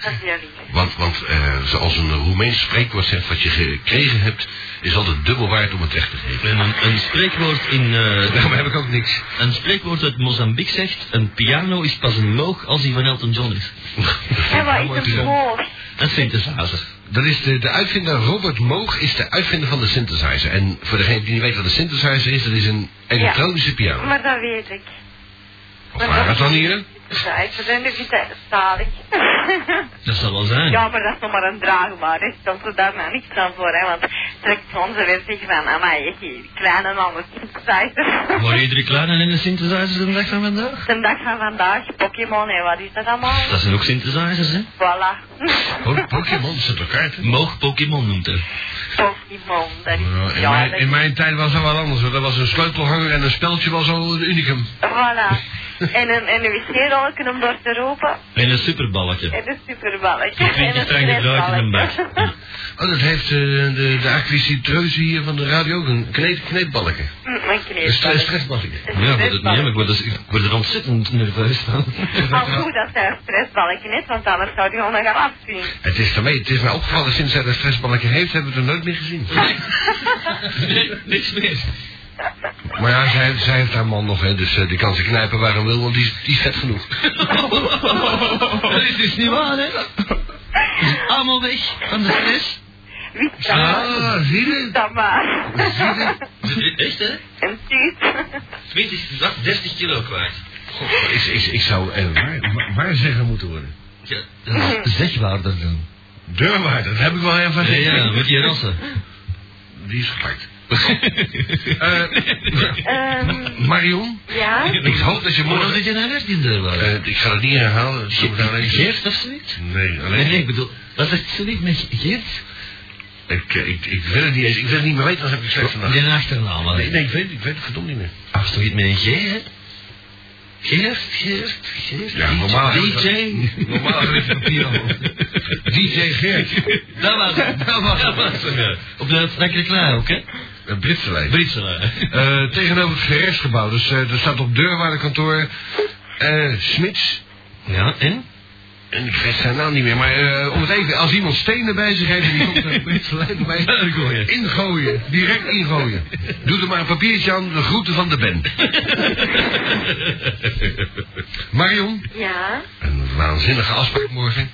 Dat is heel lief.
Want, want eh, zoals een Roemeens spreekwoord zegt, wat je gekregen hebt, is altijd dubbel waard om het weg te geven.
En een, een spreekwoord in... eh,
Daarom Nou, heb ik ook niks.
een spreekwoord uit Mozambique zegt... Een piano is pas een moog als die van Elton John is.
En wat is een mooi.
Een synthesizer.
Dat is de, de uitvinder Robert Moog is de uitvinder van de synthesizer. En voor degene die niet weet wat een synthesizer is, dat is een elektronische piano.
Maar dat weet ik.
Of waren het dan hier?
Tijd, we zijn de vitalig.
Dat zal wel zijn.
ja, maar dat is nog maar een draagbaar. Ik stond er daar nou niks aan voor, hè, want trekt soms weer zich van, amai, je kleine andere synthesizer.
Worden iedere kleine en de synthesizers de dag van vandaag?
De dag van vandaag, Pokémon, hè, wat is dat allemaal?
Dat zijn ook synthesizers, hè?
Voilà.
Oh, Pokémon, zit er kaarten?
Moog Pokémon noemt hij.
Pokémon, dat is...
Nou, in,
ja,
mijn,
dat
in
is-
mijn tijd was dat wel anders. hoor. Dat was een sleutelhanger en een speltje was al een unicum.
Voilà. En een, en een wc-rolletje om door te roepen.
En een superballetje.
En een superballetje.
Die
En
20
een
strenge draad in een bak.
stressballetje.
Oh, dat heeft eh, de, de acquisitreuze hier van de radio ook een kneed, kneedbalken.
Mm, Een
Een stre-
kneepballetje.
stressbalken.
Ja, wordt het niet, hè, maar ik word, er- ik word er ontzettend nerveus van.
Al goed dat zij een stressballetje net, want anders zou die honden gaan afzien.
Het is, daarmee, het is mij opgevallen sinds hij dat stressbalken heeft, hebben we het er nooit meer gezien.
Nee, niks meer.
Maar ja, zij, zij heeft haar man nog, hè, dus eh, die kan ze knijpen waar hij wil, want die, is- die is vet genoeg.
Dat is dus niet waar, hè? Allemaal weg van de stress.
Wie is dat?
Ah, zie je?
Dat maar.
Echt, hè?
Een tuut.
20, wacht, 30 kilo kwijt.
Goh, ik, ik, ik zou eh, waar, waar- waar zeggen moeten worden.
Ja, dat is zegwaarder dan.
Deurwaarde, dat heb ik wel even
Nee,
gezien.
ja, met die rassen.
Die is gepakt. Eh,
Ehm,
Marion,
ja?
ik hoop dat dus je
Maar dan
morgen...
zit je nou echt in deurwaarder.
Eh, ik ga het niet herhalen. dat doe ik nou ineens.
Geert of zoiets?
Nee,
Nee,
alleen...
nee, ik bedoel, dat zegt ze niet met Geert?
Ik, eh, ik, ik wil het niet eens, ik wil het niet meer weten, dan heb ik slecht vandaag.
Die achternaam, hè?
Nee, nee, ik weet, ik weet het verdomd niet meer.
Ah, is toch iets met een G, hè? Geert, Geert, Geert.
Ja, normaal.
DJ.
Normaal is het een piano. DJ Geert.
Dat was het. Dat was het. ja. Op de Frankrijkse lijn ook, hè?
Een Eh, Britse lijst.
Britse lijn.
Eh, tegenover het gerechtsgebouw. Dus eh er staat op deurwaardekantoor eh Smits.
Ja, en?
En ik weet zijn naam niet meer. Maar eh, om het even, als iemand stenen bij zich heeft, en die komt er een Britse lijn erbij.
Gooien.
Ingooien, direct ingooien. Doe er maar een papiertje aan, de groeten van de Ben. Marion,
Ja?
een waanzinnige afspraak morgen,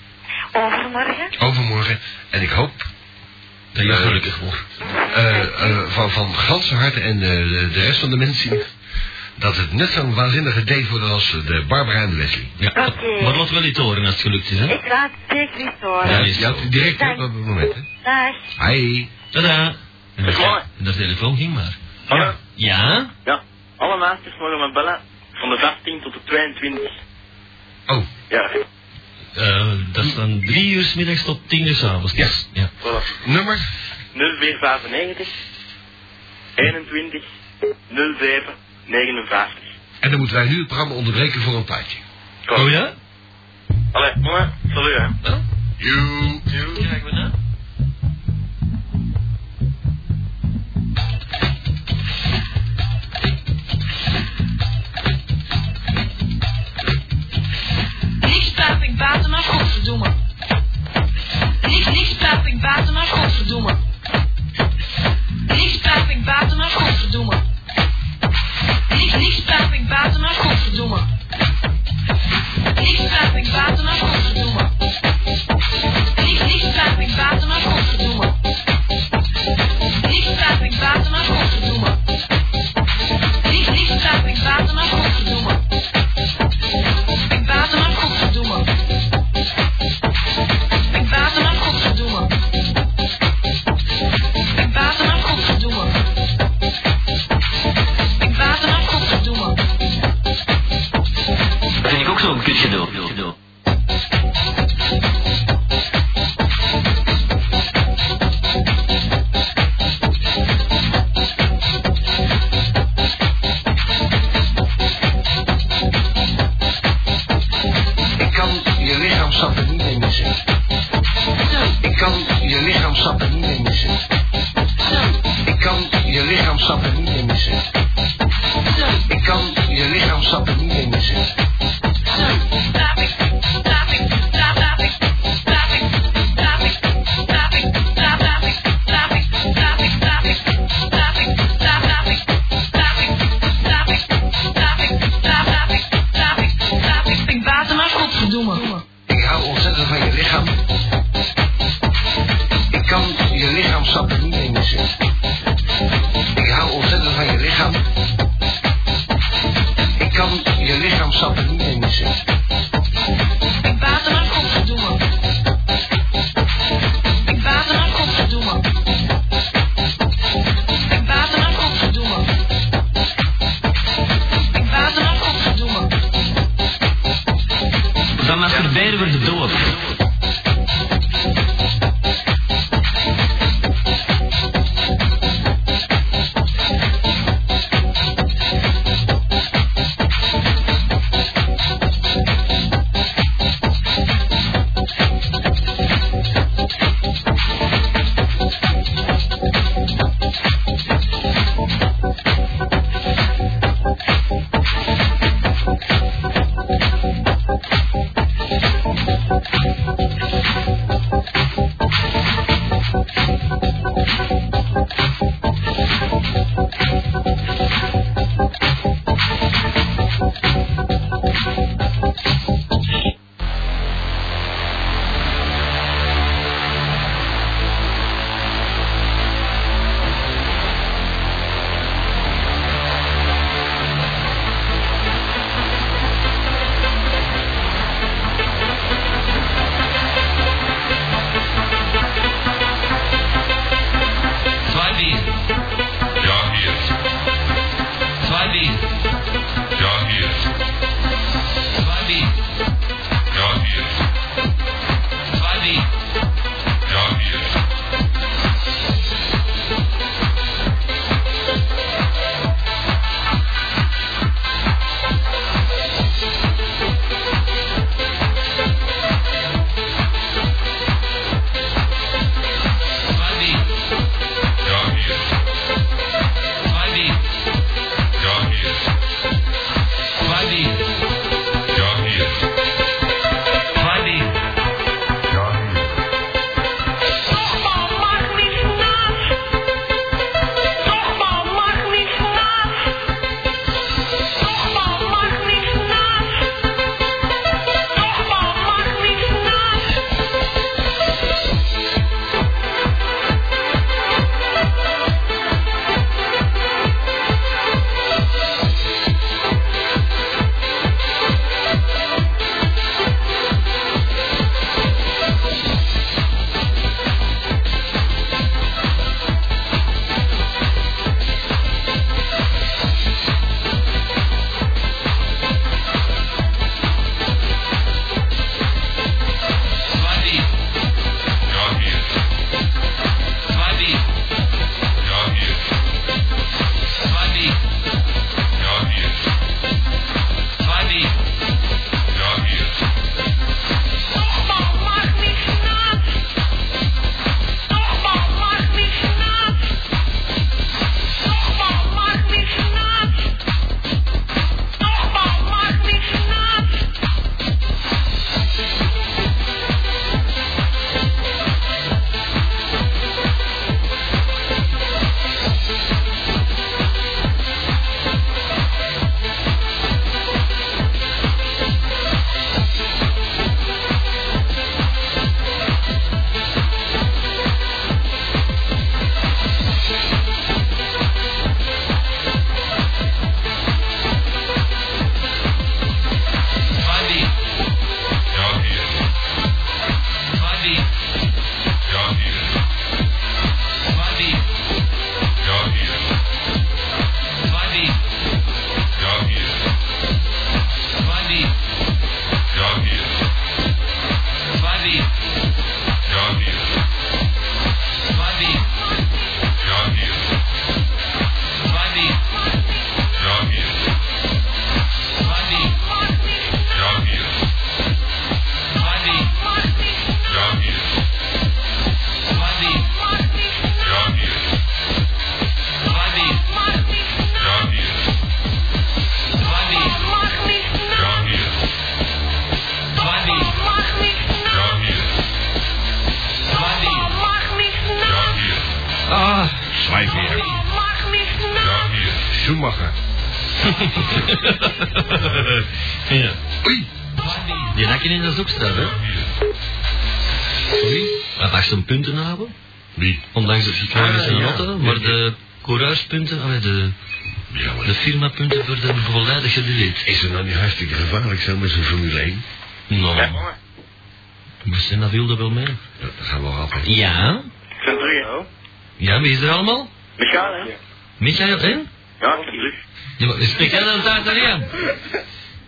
Overmorgen?
overmorgen. En ik hoop
Dat je gelukkig wordt.
eh, eh, van, van ganse harte en eh, de, de rest van de mensen dat het net zo'n waanzinnige date wordt als de Barbara en de Wesley.
Ja.
Oké.
Maar laat wel niet horen als het gelukt is, hè?
Ik laat het zeker niet horen.
Ja, is
Ja,
zo.
direct
Dank.
op dat moment. Hè?
Dag.
Hi.
Tada. En de,
Goeie.
en de telefoon ging maar.
Hallo?
Ja?
Ja, alle maatjes mogen me bellen van de 15 tot de 22.
Oh,
Ja,
Eh, dat is dan drie uur 's middags tot tien uur s'avonds.
Ja.
ja.
voilà.
nummer?
0495 21 07 59.
En dan moeten wij nu het programma onderbreken voor een plaatje.
Kom.
Oh ja?
Allee, jongen, salut hè.
Wel?
You.
Krijgen we dat?
Niks praat ik buiten, maar godverdomme. Niks, niks praat ik buiten, maar godverdomme. Niks praat ik buiten, maar godverdomme. Niks, niks praat ik buiten, maar godverdomme. Niks praat ik buiten, maar godverdomme. Niks, niks praat ik buiten, maar godverdomme. Niks praat ik buiten, maar godverdomme. Niks, niks praat ik buiten, maar godverdomme. Ik baat hem af, godverdomme. Ik baat hem af, godverdomme. Ik baat hem af, godverdomme. Ik baat hem af, godverdomme.
Dat vind ik ook zo'n kutgedoe.
Ik Ik hou ontzettend van je lichaam. Ik kan je lichaamssappen niet in Ik hou ontzettend van je lichaam. Ik kan je lichaamssappen niet in
Ik baat er maar godverdomme. Ik baat er maar godverdomme. Ik baat er maar godverdomme. Ik baat er maar godverdomme.
Dan masturberen we de dood. Zwei bier.
Ja, hier.
Zwei bier.
Ja, hier.
Zwei bier. Ah.
Schumacher.
ja.
Oei.
Die nakken in de zoekstraat, hè?
Sorry?
Hij mag zijn punten hebben.
Wie?
Ondanks dat hij klaar is
Ah,
in
ja.
Rotterdam. Maar de coureurspunten, allee, de,
Ja, maar
de firmapunten worden volledig gedelete.
Is het nou niet hartstikke gevaarlijk zo met zo'n Formule 1?
Nou, Bessin, dat wilde wel mee.
Dat gaan we wel altijd.
Ja?
Zijn terug, hè?
Ja, wie is er allemaal?
Michaal, hè?
Michael, hè?
Ja, ik ben terug.
Ja, maar spreek jij dan Italiaan?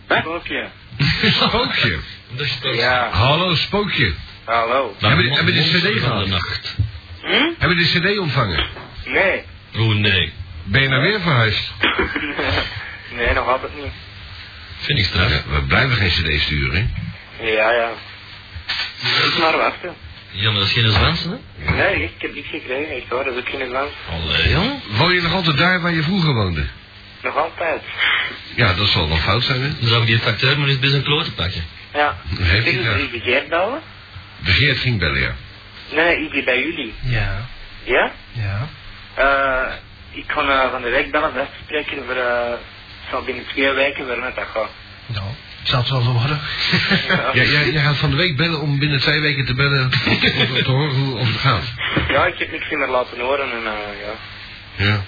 Spookje.
Spookje.
Ja,
Hallo, spookje.
hallo.
Hebben die- hebben die CD
van
gehad?
de nacht.
Hm?
Hebben we de cd ontvangen?
Nee.
Oh nee,
Ben je nou weer verhuisd?
nee, nog altijd niet.
vind ik straf.
Ja, we blijven geen cd sturen, hè?
Ja, ja. Moet maar wachten.
Ja, maar dat is geen Zwansen, hè?
Nee, ik heb niks gekregen, echt hoor. Dat is ook in het land.
Allee, jong.
Woon je nog altijd daar waar je vroeger woonde?
Nog altijd.
Ja, dat zal nog fout zijn, hè?
Dan zou ik die facteur maar eens bij zijn kloten pakken.
Ja.
Heb je
Zullen
dat?
we u begeerd bellen?
De Geert ging bellen, ja.
Nee, ik ben bij jullie.
Ja.
Ja?
Ja.
Eh, ik kan eh, van de week bellen om af te spreken voor... eh, ik zal binnen twee weken weer met dat gaan.
Nou, zou het wel zo worden?
Ja.
Ja, jij, jij gaat van de week bellen om binnen twee weken te bellen om te om te horen hoe of het gaat.
Ja, ik heb niks meer laten horen en eh, ja,
Ja.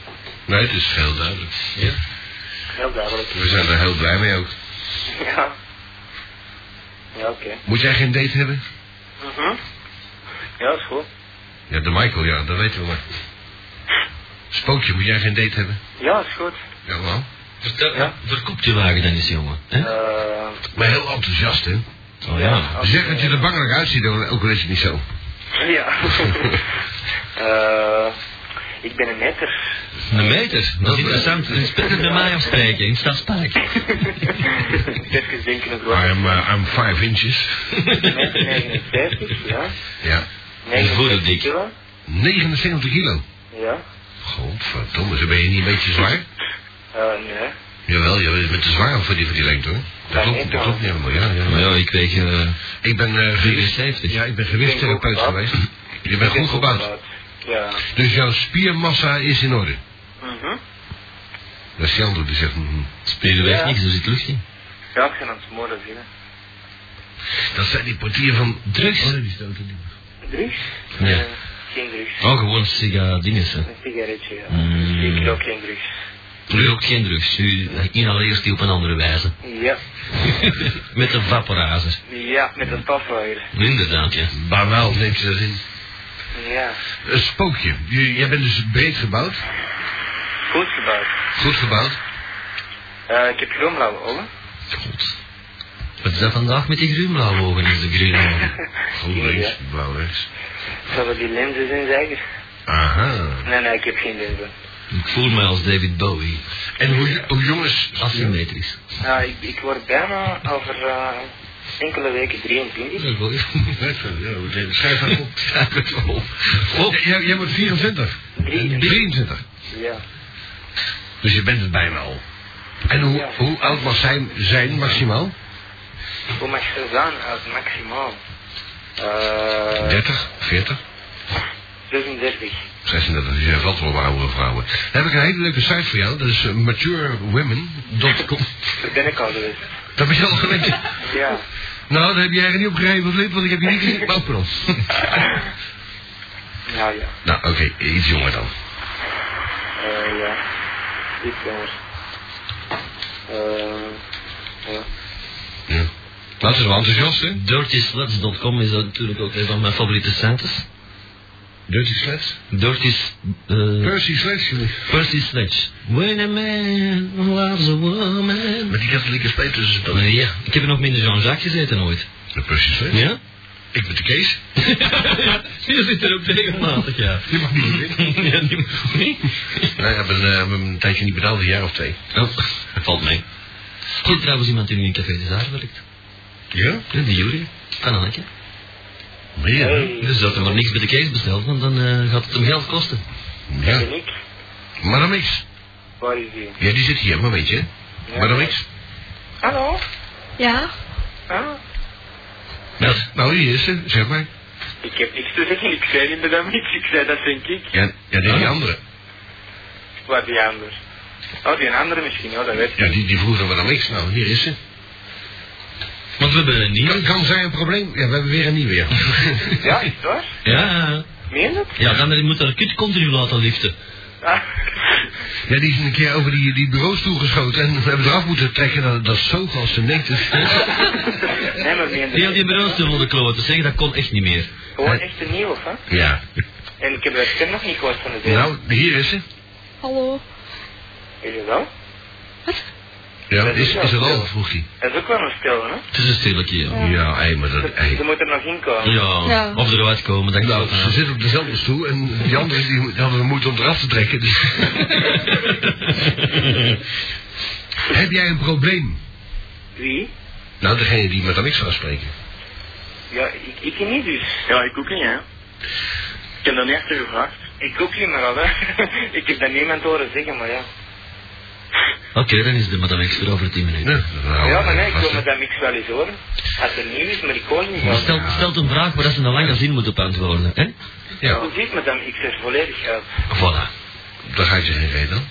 Nee, het is heel duidelijk.
Ja.
heel duidelijk.
We zijn er heel blij mee ook.
Ja. Ja, oké.
Moet jij geen date hebben?
Mhm. Ja, is goed.
Ja, de Michael, ja, dat weten we maar. Spookje, moet jij geen date hebben?
Ja, is goed.
Jawel.
Vertel,
Ja.
verkoop die wagen dan eens, jongen. Hè?
Eh,
Maar heel enthousiast, hè?
Oh ja.
als-
Zeg dat je er bangelijk uitziet, hoor, ook al is het niet zo.
Ja. Eh, ik ben een netter.
Een meter, dat is interessant. Inspecteur bij mij afspreken, in het Stadspark.
Even denken het wordt.
I'm, uh, I'm five inches.
Meter 59, ja.
Ja.
Voelde dik.
59 kilo.
79 kilo.
Ja.
Godverdomme, zo ben je niet een beetje zwaar?
Eh, nee.
Jawel, je bent te zwaar voor die, voor die lengte, hoor. Dat
Ja,
klopt,
niet,
dat klopt niet helemaal, ja. ja.
Maar ja, ik weeg eh,
Ik ben eh, gewis-
74.
Ja, ik ben gewichtstherapeut
Ik ben goed
geweest. Je bent goed gebouwd.
Ja.
Dus jouw spiermassa is in orde.
Mhm.
Dat is Sjandro die zegt. mhm.
spieren weegt
Ja.
niks, er zit lucht in.
Ja, ik ben aan het smoren zien.
Dat zijn die portier van
Drugs?
Oh, die stoten niet.
Drugs?
Ja.
Eh, Geen drugs.
Oh, gewoon siga dinges, hè.
Een sigaretje, ja.
Mm.
Ik rook geen drugs.
Nu ook geen drugs, u inhaleert die op een andere wijze.
Ja.
Met een vaporazer.
Ja, met een stofwaaier.
Inderdaad, ja.
Maar wel, neemt ze dat in.
Ja.
Een spookje. Je- jij bent dus breed gebouwd,
Goed gebouwd.
goed gebouwd.
Eh, ik heb gewoon blauwe ogen.
God. Wat is dat vandaag met die groenblauwe ogen is de groene ogen?
Groen
Ja.
links, blauw rechts.
Zullen die lenzen zijn, zeker?
Aha.
Nee, nee, ik heb geen lenzen.
Ik voel me als David Bowie.
En hoe, jo- hoe jongens.
Asymmetrisch.
Nou, ik, ik word bijna over eh, enkele weken 23.
Dat hoor
Ja, hoe deed- Schrijf dat op.
het op. Op.
J- Jij, jij wordt 24. 23.
Ja.
Dus je bent het bijna al. En hoe,
Ja.
hoe oud mag zij zijn maximaal?
Hoe mag ze zijn als maximaal? Eh
30, 40?
36.
36, dus jij valt wel op oudere vrouwen. Dan heb ik een hele leuke site voor jou, dat is eh, maturewomen.com.
Daar ben ik al geweest.
Dat ben je al gewend.
Ja.
Nou, dat heb jij er niet op gegeven, Flip, want ik heb je niet gezien. Oh, pardon.
Nou ja.
Nou, oké, iets jonger dan.
Eh ja. Dit jongens. Eh ja.
Ja. Dat is wel enthousiast, hè?
DirtySlats.com is dat natuurlijk ook een van mijn favoriete sites.
Dirty Slats.
Dirty... eh
Percy Slats, jullie.
Percy Sledge. When a man loves a woman...
Met die katholieke spijt tussen
Oh, nee, ja. Ik heb er nog minder Jean-Jacques gezeten ooit.
De Percy Slats?
Ja?
Ik ben de Kees.
Je zit er ook regelmatig, ja.
Je mag niet meer in.
ja, die nee.
Nee, ik heb een, eh, heb een tijdje niet betaald, een jaar of twee.
Oh, valt mee. Goed, trouwens iemand die nu in Café de Zaar werkt.
Ja?
Ja, de Jury. Van Anneke.
Meer?
Dus dat er maar niks bij de Kees besteld, want dan eh, gaat het hem geld kosten.
Ja.
En ik?
Maar dan niks.
Waar is die?
Ja, die zit hier, maar weet je.
Ja.
Maar dan niks.
Hallo?
Ja,
Ah.
Ja. Nou, hier is ze, zeg maar.
Ik heb niks te zeggen, ik zei
Ah.
inderdaad niks. Ik zei dat denk ik.
Ja, ja dit is die andere.
Waar die anders? Oh, die andere misschien, ja, dat weet ik
Ja,
niet.
die, die vroegen we dan niks. Nou, hier is ze.
Want we hebben een nieuwe.
Kan, kan zij een probleem? Ja, we hebben weer een nieuwe, ja.
Ja, is het waar?
Ja,
Meen je dat?
ja dan moet haar kut continu laten liften.
Ah,
Ja, die is een keer over die, die bureaustoel geschoten en we hebben eraf moeten trekken. dus- Dat, dat is zo als ze net is.
nee, maar meen
Die
dat
had die
niet?
bureaustoel onder kloten, zeg, dat kon echt niet meer.
Gewoon echt een nieuwe, hè?
Ja.
En ik heb dat stem nog niet gehoord van de deur.
Nou, hier is ze.
Hallo.
Weet je wel?
Ja, is, is er al? Vroeg hij.
Dat is ook wel een stil, hè?
Het is een stilletje, ja.
Ja, hé, maar dat... hé.
Ze moet er nog in komen.
Ja,
Ja.
of eruit komen, dat
Nou,
klopt.
ze zit op dezelfde stoel en die anderen die, die hadden de moeite om eraf te trekken. Dus. Heb jij een probleem?
Wie?
Nou, degene die met niks gaat spreken.
Ja, ik, ik niet dus.
Ja, ik ook niet, hè. Ik heb dat niet echt gevraagd.
Ik ook niet meer al, hè. ik heb dat niemand horen zeggen, maar ja.
Oké, dan is de madame X er over 10 minuten.
Nou,
eh,
dan houden
ja,
we
maar nee, ik
vast,
wil
hè.
me dat niks wel eens horen. Als er nieuw is, maar ik hoor niet
Maar
van.
Stel, stelt een vraag waar ze een lange zin moet op antwoorden, hè?
Ja,
Hoe ziet me dan? Ik zeg volledig eh, uit.
Voilà.
daar ga ik ze geen reden.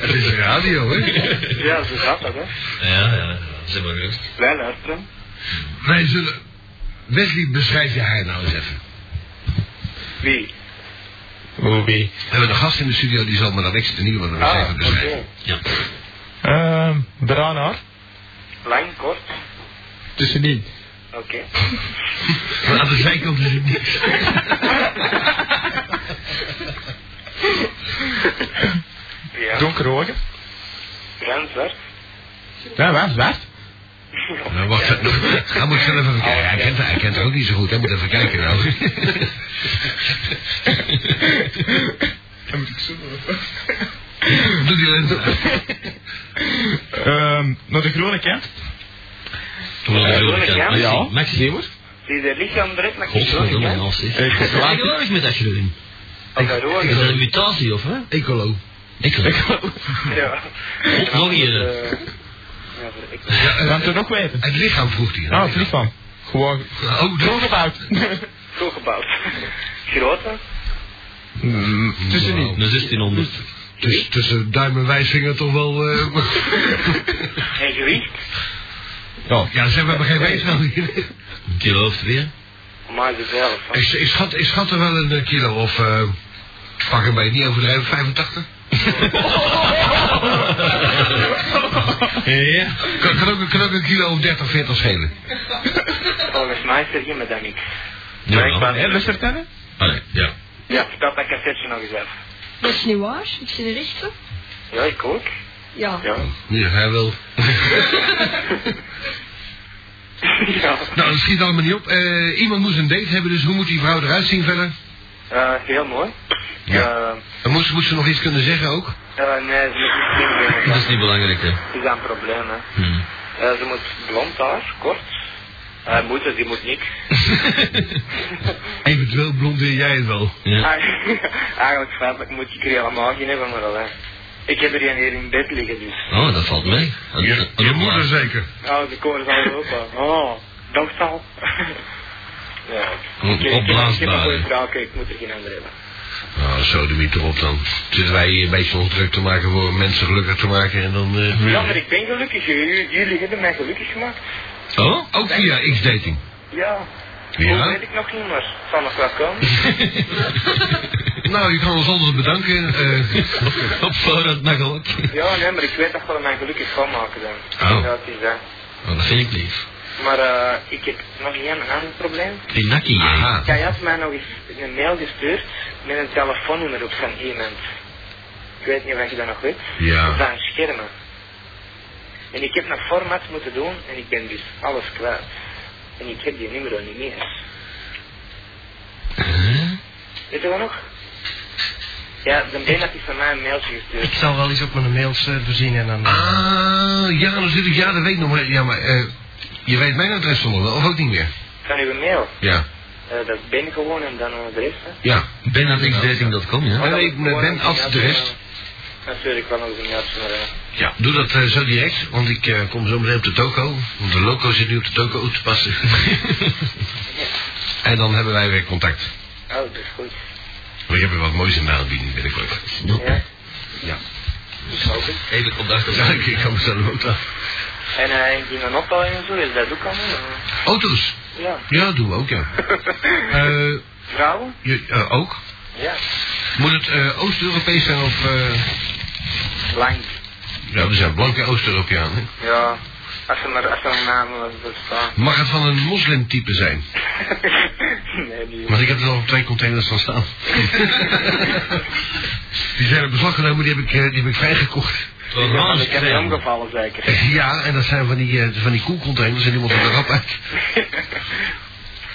Het is radio, hè?
Ja, zo gaat dat, hè.
Ja, ja, zeg maar gerust.
Wij luisteren.
Wij zullen... Wesley, beschrijf je haar nou eens even.
Wie?
Obi.
We hebben een gast in de studio, die zal me dan niks te nieuw
Ah,
wat we zeggen
Ah,
dus
oké.
beschrijven.
Ja.
Ehm, bruin haar.
Lang, kort.
Tussenin.
Oké.
Maar aan de zijkant is het niks.
Ja.
Donkere ogen.
Bruin, zwart.
Ja, waar? Zwart.
Nou, wacht. Hij moet zelf even kijken. Hij kent, hij kent haar ook niet zo goed. Hij moet even kijken nou.
Dat moet ik zo
Doe die lens uit.
Ehm, naar de groene kant.
Toen we zo
ja,
bekend.
ja.
Maxi, Maxi.
hoor.
Zie je de lichaam direct naar
Godverdomme,
Kingsland?
als zeg.
Ik-
Ik geloof met dat groen.
Of dat
Dat is
hoor.
een mutatie, of hè?
Ecolo.
Ik geloof.
Ja.
Nog hier.
Eh, ja, voor- ik-
Want er Eh, nog weten.
Het lichaam vroeg hij.
Ah, het lichaam. Gewoon
Oh, dat-
doorgebouwd.
Zo gebouwd. Grote?
Mm,
Tussenin.
Een 1600.
Dus tussen duim en wijsvinger toch wel... eh,
En gewicht?
Ja.
ja, ze hebben geen wijsvinger hier.
Een kilo of twee.
Maar ze zelf. hè.
Ik, ik, schat, ik schat er wel een eh, kilo of... eh, pak hem bij niet overdrijven, 85?
Ja.
Kan, kan, ook, kan ook een kilo of 30, 40 schelen.
Volgens mij is er hier met dat niks.
Ja.
En luistert dan?
Allee, Ah, ja.
Ja. Vertel dat cassetje nog eens uit.
Dat is niet waar. Ik zit er echt op.
Ja, ik ook.
Ja.
Ja.
Ja, hij wil.
ja.
Nou, dat schiet allemaal niet op. Eh, iemand moest een date hebben, dus hoe moet die vrouw eruit zien verder?
Eh, heel mooi.
Ja.
Eh,
En moest, moest ze nog iets kunnen zeggen ook?
eh, nee, ze moet niet slim
Dat
zijn.
is niet belangrijk, hè.
Dat is een probleem, hè.
Hm.
Eh, ze moet blond haar, kort. Eh moeder, die moet niks.
Eventueel blondeer jij het wel.
Ja.
Eigenlijk- Eigenlijk feitelijk moet ik er helemaal geen hebben, maar alleen. Ik heb er een hier in bed liggen, dus.
Oh, dat valt mee. Dat-
Je,
dat-
je moeder zeker.
Nou, de koor is al open. Oh, dat al. ja.
Op-
Ik- ik- Ik heb een
opblaasbaar,
goede
hè.
vrouw, kijk, ik moet er geen andere hebben.
Nou, zo de miet erop dan. Zitten wij hier een beetje ons druk te maken voor mensen gelukkig te maken en dan... eh,
Ja, maar ik ben gelukkig. Jullie, jullie hebben mij gelukkig gemaakt.
Oh?
Ook via X-dating.
Ja.
Ja?
Hoe weet ik nog niet, maar het zal nog wel komen.
Nou, je kan ons altijd bedanken. eh.
Op voorhand mag ook.
ja, nee, maar ik weet dat we mij gelukkig gaan maken dan.
Oh.
Ja, het is dat.
Oh, dat vind ik lief.
Maar eh, ik heb nog een ander probleem.
Die nakkie, hè.
Aha.
Jij had mij nog eens een mail gestuurd met een telefoonnummer op van iemand. Ik weet niet of je dat nog weet.
Ja.
Van schermen. En ik heb nog format moeten doen en ik ben dus alles kwijt. En ik heb die nummer al niet meer. Weet je dat nog? Ja, dan ben ik van mij een mailtje
Ik
gestuurd.
zal wel eens op mijn mails eh, doorzien en dan...
Ah, ja, natuurlijk. Ja, dat weet ik nog maar. Ja, maar eh, je weet mijn adres toch nog wel, of ook niet meer?
Van uw mail.
Ja.
Eh, dat ben ik gewoon en dan een adres. Hè.
Ja.
Ben at xdating.com, ja.
Oh, nee, ik ben
Gewoon
af de rest.
eh, Natuurlijk wel nog eens een mailtje, maar... eh,
Ja, doe dat eh, zo direct, want ik eh, kom zo meteen op de toko. Want de loco zit nu op de toko te passen. en dan hebben wij weer contact.
Oh, dat is goed.
We hebben wat moois in de aanbieding binnenkort.
Ja,
Ja.
ik hoop het.
Even contact op
Ja, ik ik kan mezelf ook laten.
En eh, indien een opbouw en zo, is dat ook allemaal? eh,
Auto's.
Ja.
Ja, doen we ook, ja. Eh,
Vrouwen?
je, eh, ook.
Ja.
Moet het eh, Oost-Europees zijn of... eh,
Lang.
Ja, we zijn blanke Oost-Europeanen.
Ja. Als ze maar, als ze maar namen laten bestaan.
Mag het van een moslimtype zijn?
nee, die...
Want ik heb er al op twee containers van staan. die zijn op beslag genomen, die heb ik, eh, die heb ik vrijgekocht.
Ja, ik heb
Roze
niet
crème.
omgevallen zeker.
Ja, en dat zijn van die, eh, van die koelcontainers en die moeten er rap uit.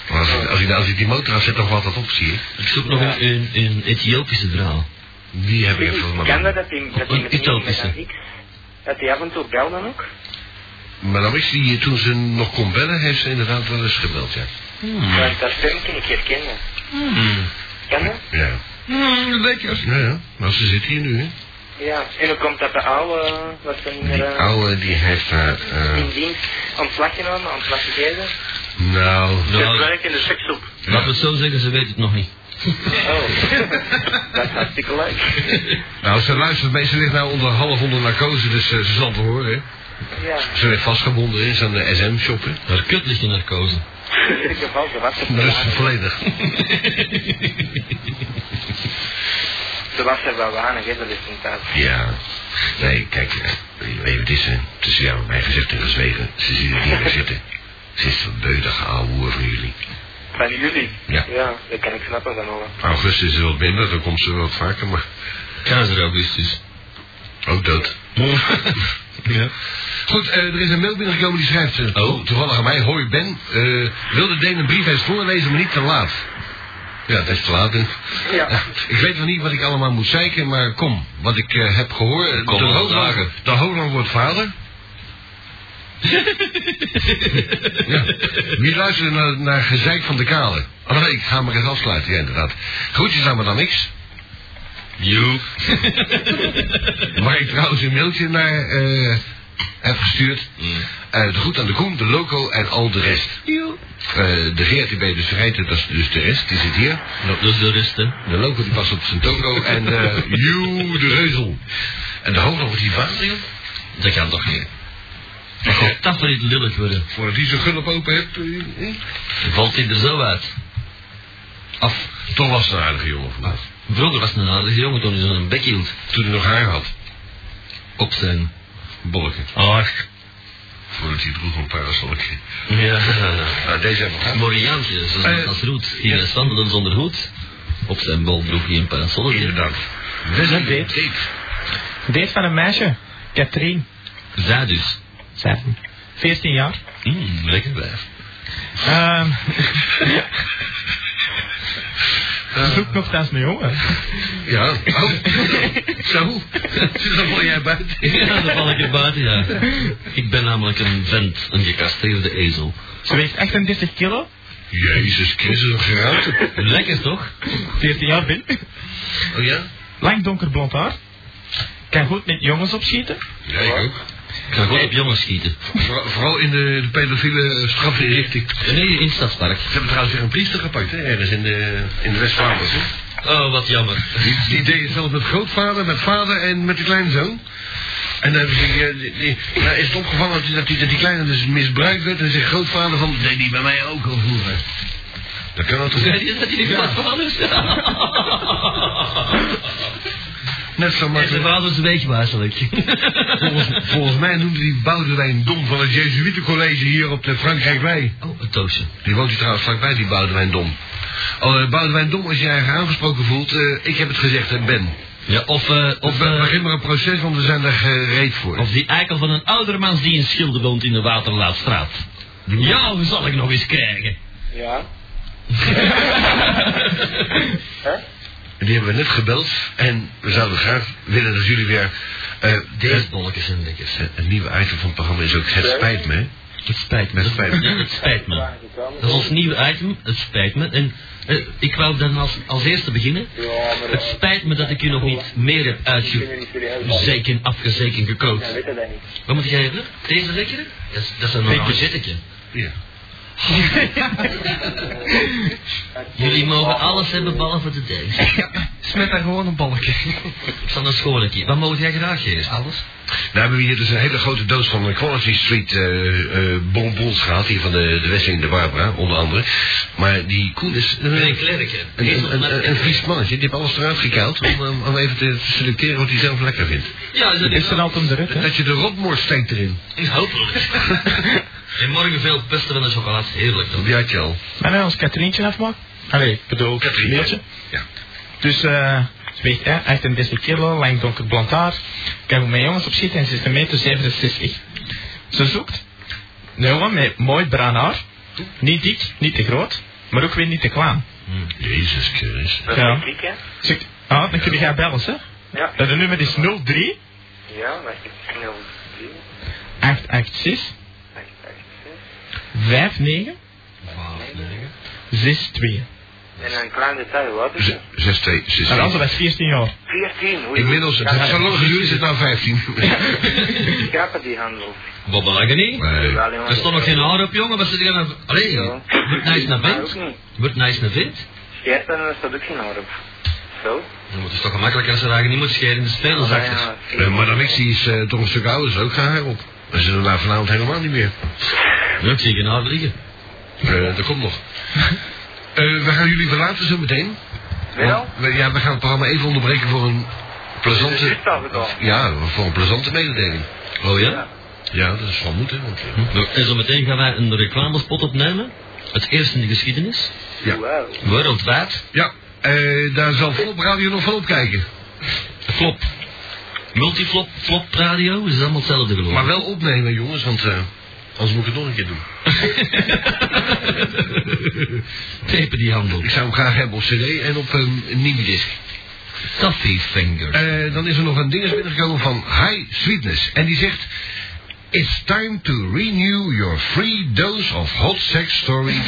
Maar als, ik- als, ik, als ik die motor afzet, dan valt dat op, zie je.
Ik zoek nog een, een, een Ethiopische vrouw.
Die heb ik even
Kan dat
maar.
dat die, dat die
Een
met iemand met
utopische.
een X, dat die af en toe belde ook?
Maar dan is die, eh, toen ze nog kon bellen, heeft ze inderdaad wel eens gebeld, ja.
Mm.
Want dat filmpje ik herkennen. Hmm. Kan dat?
Ja.
lekker.
Ja, ja. Maar ze zit hier nu, hè.
Ja. En hoe komt dat de oude, wat ze niet meer...
Die
eh,
oude, die heeft haar... eh,
in dienst ontslag genomen, ontslag gegeven.
nou...
Ze
Nou,
werkt in de sekshoek.
Laten we het zo zeggen, ze weet het nog niet.
Oh, dat is hartstikke leuk.
Nou, ze luistert mee. Ze ligt nou onder half onder narcose, dus eh, ze zal het wel horen, hè.
Ja,
Ze werd vastgebonden in eh, zo'n SM-shop, hè.
Haar kut ligt in haar kozen.
in ieder geval, ze was er wel
Dus
aan.
volledig.
Ze was er wel aan, hè, de resultaat.
Ja. Nee, kijk, eh, je weet wat het is, hè. Tussen jou en mij gezegd en gezwegen. Ze ziet het niet meer zitten. Ze is van beudige ouwe hoer van jullie.
Van jullie?
Ja.
Ja, dat kan ik snappen van alle.
Augustus is wat minder, dan komt ze wat vaker, maar
Keizer Augustus.
ook dood.
Ja.
Goed, eh, er is een mail binnengekomen die schrijft eh,
Oh.
toevallig aan mij. Hoi Ben, eh, wilde Deen een brief eens voorlezen, maar niet te laat. Ja, dat is te laat. hè.
Ja.
Ik weet nog niet wat ik allemaal moet zeiken, maar kom. Wat ik eh, heb gehoord,
Kom
de,
maar
Holand,
zagen.
de Holand wordt vader. ja. Wie luistert naar, naar gezeik van de kale? Oh nee, ik ga maar eens afsluiten, ja inderdaad. Groetjes aan me dan niks.
Joep.
Maar ik trouwens een mailtje naar eh, heb gestuurd.
Mm.
Eh, de groet aan de Koen, de Loco en al de rest. Eh, de GRTB, dus rijdt dat is dus de rest, die zit hier.
Nou, dat is de rest, hè.
De Loco die past op zijn toko en eh Joe de Reuzel. En de hoogte over die vader, joh.
Dat kan toch niet. Dat gaat toch niet lullig worden.
Voordat hij zijn gulp open hebt. eh, eh.
Valt hij er zo uit.
Af. Toch was het een aardige jongen van mij.
Vroeger was het een aardige jongen toen hij zo'n bek hield.
Toen hij nog haar had.
Op zijn...
Bolleke.
Ach.
Voordat hij droeg een parasolje.
Ja.
Nou, deze hebben we gehad.
Moriaantje, zoals
Eh,
dat als roet. Die was wandelen zonder hoed. Op zijn bol droeg hij een parasolletje.
Inderdaad. Wesley
Dat deed.
Deed.
Date van een meisje. Katrien.
Zij dus.
Zij- 14 jaar.
Mm, lekker blijf.
Ehm Ze zoekt nog thuis een jongen.
Eh. Ja. Oh. Zo. Dan val jij buiten.
Ja, dan val ik er buiten, ja. Ik ben namelijk een vent, een gecastreerde ezel.
Ze weegt 38 kilo.
Jezus Christus, een geraamte.
Lekker toch?
14 jaar ben.
Oh ja?
Lang donkerblond haar. Kan goed met jongens opschieten.
Ja, ik ook.
Ik ga gewoon op jongens schieten.
Vooral, vooral in de, de pedofiele eh, strafrichting. Ze
Nee, in het stadspark.
hebben trouwens weer een priester gepakt, hè? Ergens in de, in de West-Vlaanderen. hè?
Oh, wat jammer.
Die, die deed het zelf met grootvader, met vader en met de kleinzoon. En dan hebben ze, eh, die, die- nou is het opgevallen dat die, dat die, dat die kleine dus misbruikt werd. En zegt grootvader van, deed die bij mij ook al vroeger. Dat kan dat toch
Weet
niet?
je dat jullie
Ja.
vaders?
Net zo
En zijn
makkelijk.
vaders weegwaarschelijk.
Volgens, volgens mij noemde die Boudewijn Dom van het Jezuïetencollege hier op de Frankrijkwei.
Oh, een doosje.
Die woont hier trouwens vlakbij, die Boudewijn Dom. Oh, eh, Boudewijn Dom, als je je eigen aangesproken voelt, eh, ik heb het gezegd, hè, Ben.
Ja, of, eh,
Of
of, eh,
begin maar een proces, want we zijn daar eh, gereed voor.
of die eikel van een oudermans die in Schilde woont in de Waterlaatstraat. Jou zal ik nog eens krijgen.
Ja.
Die hebben we net gebeld. En we zouden graag willen dat jullie weer... eh
Deze
het-
bolletjes en dikkers.
het, het nieuwe item van het programma is ook... Het spijt me. hè.
Het spijt me.
Het spijt me.
Ja, het spijt me. Dat is ons nieuwe item. Het spijt me. En eh, ik wou dan als, als eerste beginnen.
Ja, maar
Het
eh,
spijt me dat ik u nog niet meer heb
ik ben er
uitge...
niet serieus van.
Zeker, afgezeken, gekookt.
Ja, weet je dat niet.
Wat moet jij hebben? Deze lekkere? Dat is, dat is een
Beetje.
orangetje.
Ja.
Jullie mogen alles hebben behalve de deeg.
Smet daar gewoon een balkje.
Ik zal naar schooletje. Wat mogen jij graag geven? Alles.
Nou hebben we hier dus een hele grote doos van de Quality Street eh, eh, bonbons gehad. Hier van de, de Wesseling de Barbara, onder andere. Maar die Koen is een,
Nee,
een,
klerken.
een, een, een vies mannetje. Die heeft alles eruit gekauwd om, om- om even te selecteren wat hij zelf lekker vindt.
Ja, dat
Is
is
er altijd druk, hè?
Dat je de rotmorst steekt erin.
is hopelijk. en morgen veel pesten van de chocolade. Heerlijk dan.
Die had je al.
Maar nou, als Katrientje afmaakt. Allee, ik bedoel,
Katrientje.
Meertje.
Ja.
Dus, eh, ze weegt hè, 38 kilo, lang donker blond haar. Kijk hoe mijn jongens op zitten en ze is een meter 67. Ze zoekt een jongen met mooi bruin haar. Niet dik, niet te groot, maar ook weer niet te klein.
Jezus Christus.
Dat
Ja. Eh.
denk ik, hè?
Zoekt, ah, dan kun je gaan bellen, hè?
Ja.
Dat de nummer is 03
Ja, maar ik snel drie,
886
acht, acht, zes.
59
Nee.
62.
En een klein detail, wat is het?
6, 2, 6,
Dat was 14 jaar.
14, hoe
Inmiddels, het is zo lang geleden is het nou 15.
Schrappen die handel.
Babbelagen niet.
Nee.
Er stond nog geen haar op, jongen. Wat zit je aan... Allee,
Ja.
wordt nice naar
Maar
vent.
ook niet.
Wordt nice naar vent.
Jij hebt dan een ook geen haar op. Zo?
Maar Het is toch gemakkelijker als ze eigenlijk niet moet scheren in de spelers achter.
Eh, Madame X die is eh, toch een stuk ouder, is ook geen haar op. We zullen daar vanavond helemaal niet meer.
Ja, ik zie geen haar liggen.
Eh, dat komt nog. Eh, we gaan jullie verlaten zo meteen.
Wel?
Want we- ja, we gaan het programma even onderbreken voor een
Dat is
plezante...
het al gedaan.
Ja, voor een plezante mededeling.
Oh ja?
Ja, dat is wel moeten. Want, eh,
Nou, En zo meteen gaan wij een reclamespot opnemen. Het eerste in de geschiedenis.
Ja.
Wauw.
Wereldwijd.
Ja, eh, daar zal Flop Radio nog van opkijken.
Flop. Multiflop, flop radio, is allemaal hetzelfde geloof.
Maar wel opnemen, jongens, want eh, anders moet ik het nog een keer doen.
Tapen die handel.
Ik zou hem graag hebben op cd en op ehm, een minidisc.
Coffee fingers.
Eh, dan is er nog een ding is binnengekomen van High Sweetness. En die zegt... It's time to renew your free dose of hot sex story.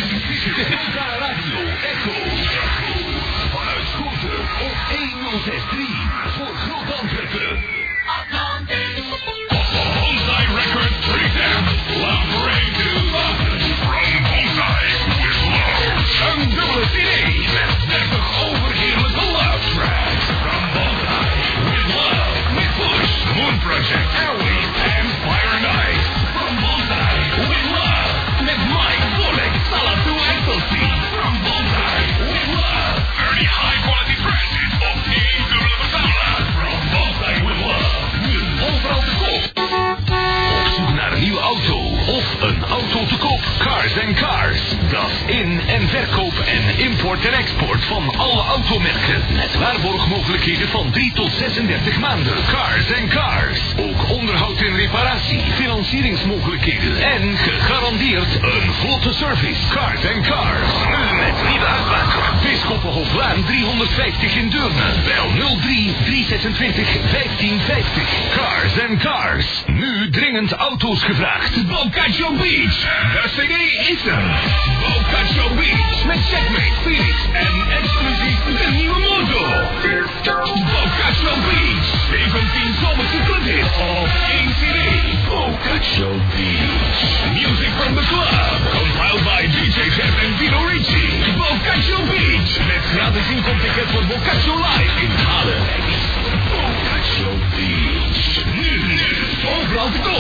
naar een nieuwe auto of een auto te koop. Cars and Cars. Dat in- en verkoop en import en export van alle automerken. Met waarborgmogelijkheden van 3 tot 36 maanden. Cars and Cars. Ook onderhoud en reparatie, financieringsmogelijkheden en gegarandeerd een vlotte service. Cars and Cars. Nu met nieuwe uitbaker. Bisschoppenhoflaan 350 in Deurne. Bel 03 326 1550. Cars and Cars. Nu dringend auto's gevraagd. Boccaccio Beach. De CD is er. Boccaccio Beach. Met Checkmate, Phoenix en exclusief de nieuwe motor. Boccaccio Beach. 17 zomerse credits op één CD. Boccaccio Beach. Music from the club. Compiled by DJ Jeff en Vino Ricci. Boccaccio Beach. Met gratis inkomticket voor Boccaccio Live in Haarlem. Boccaccio Beach. Nu, nu. Overal te koop.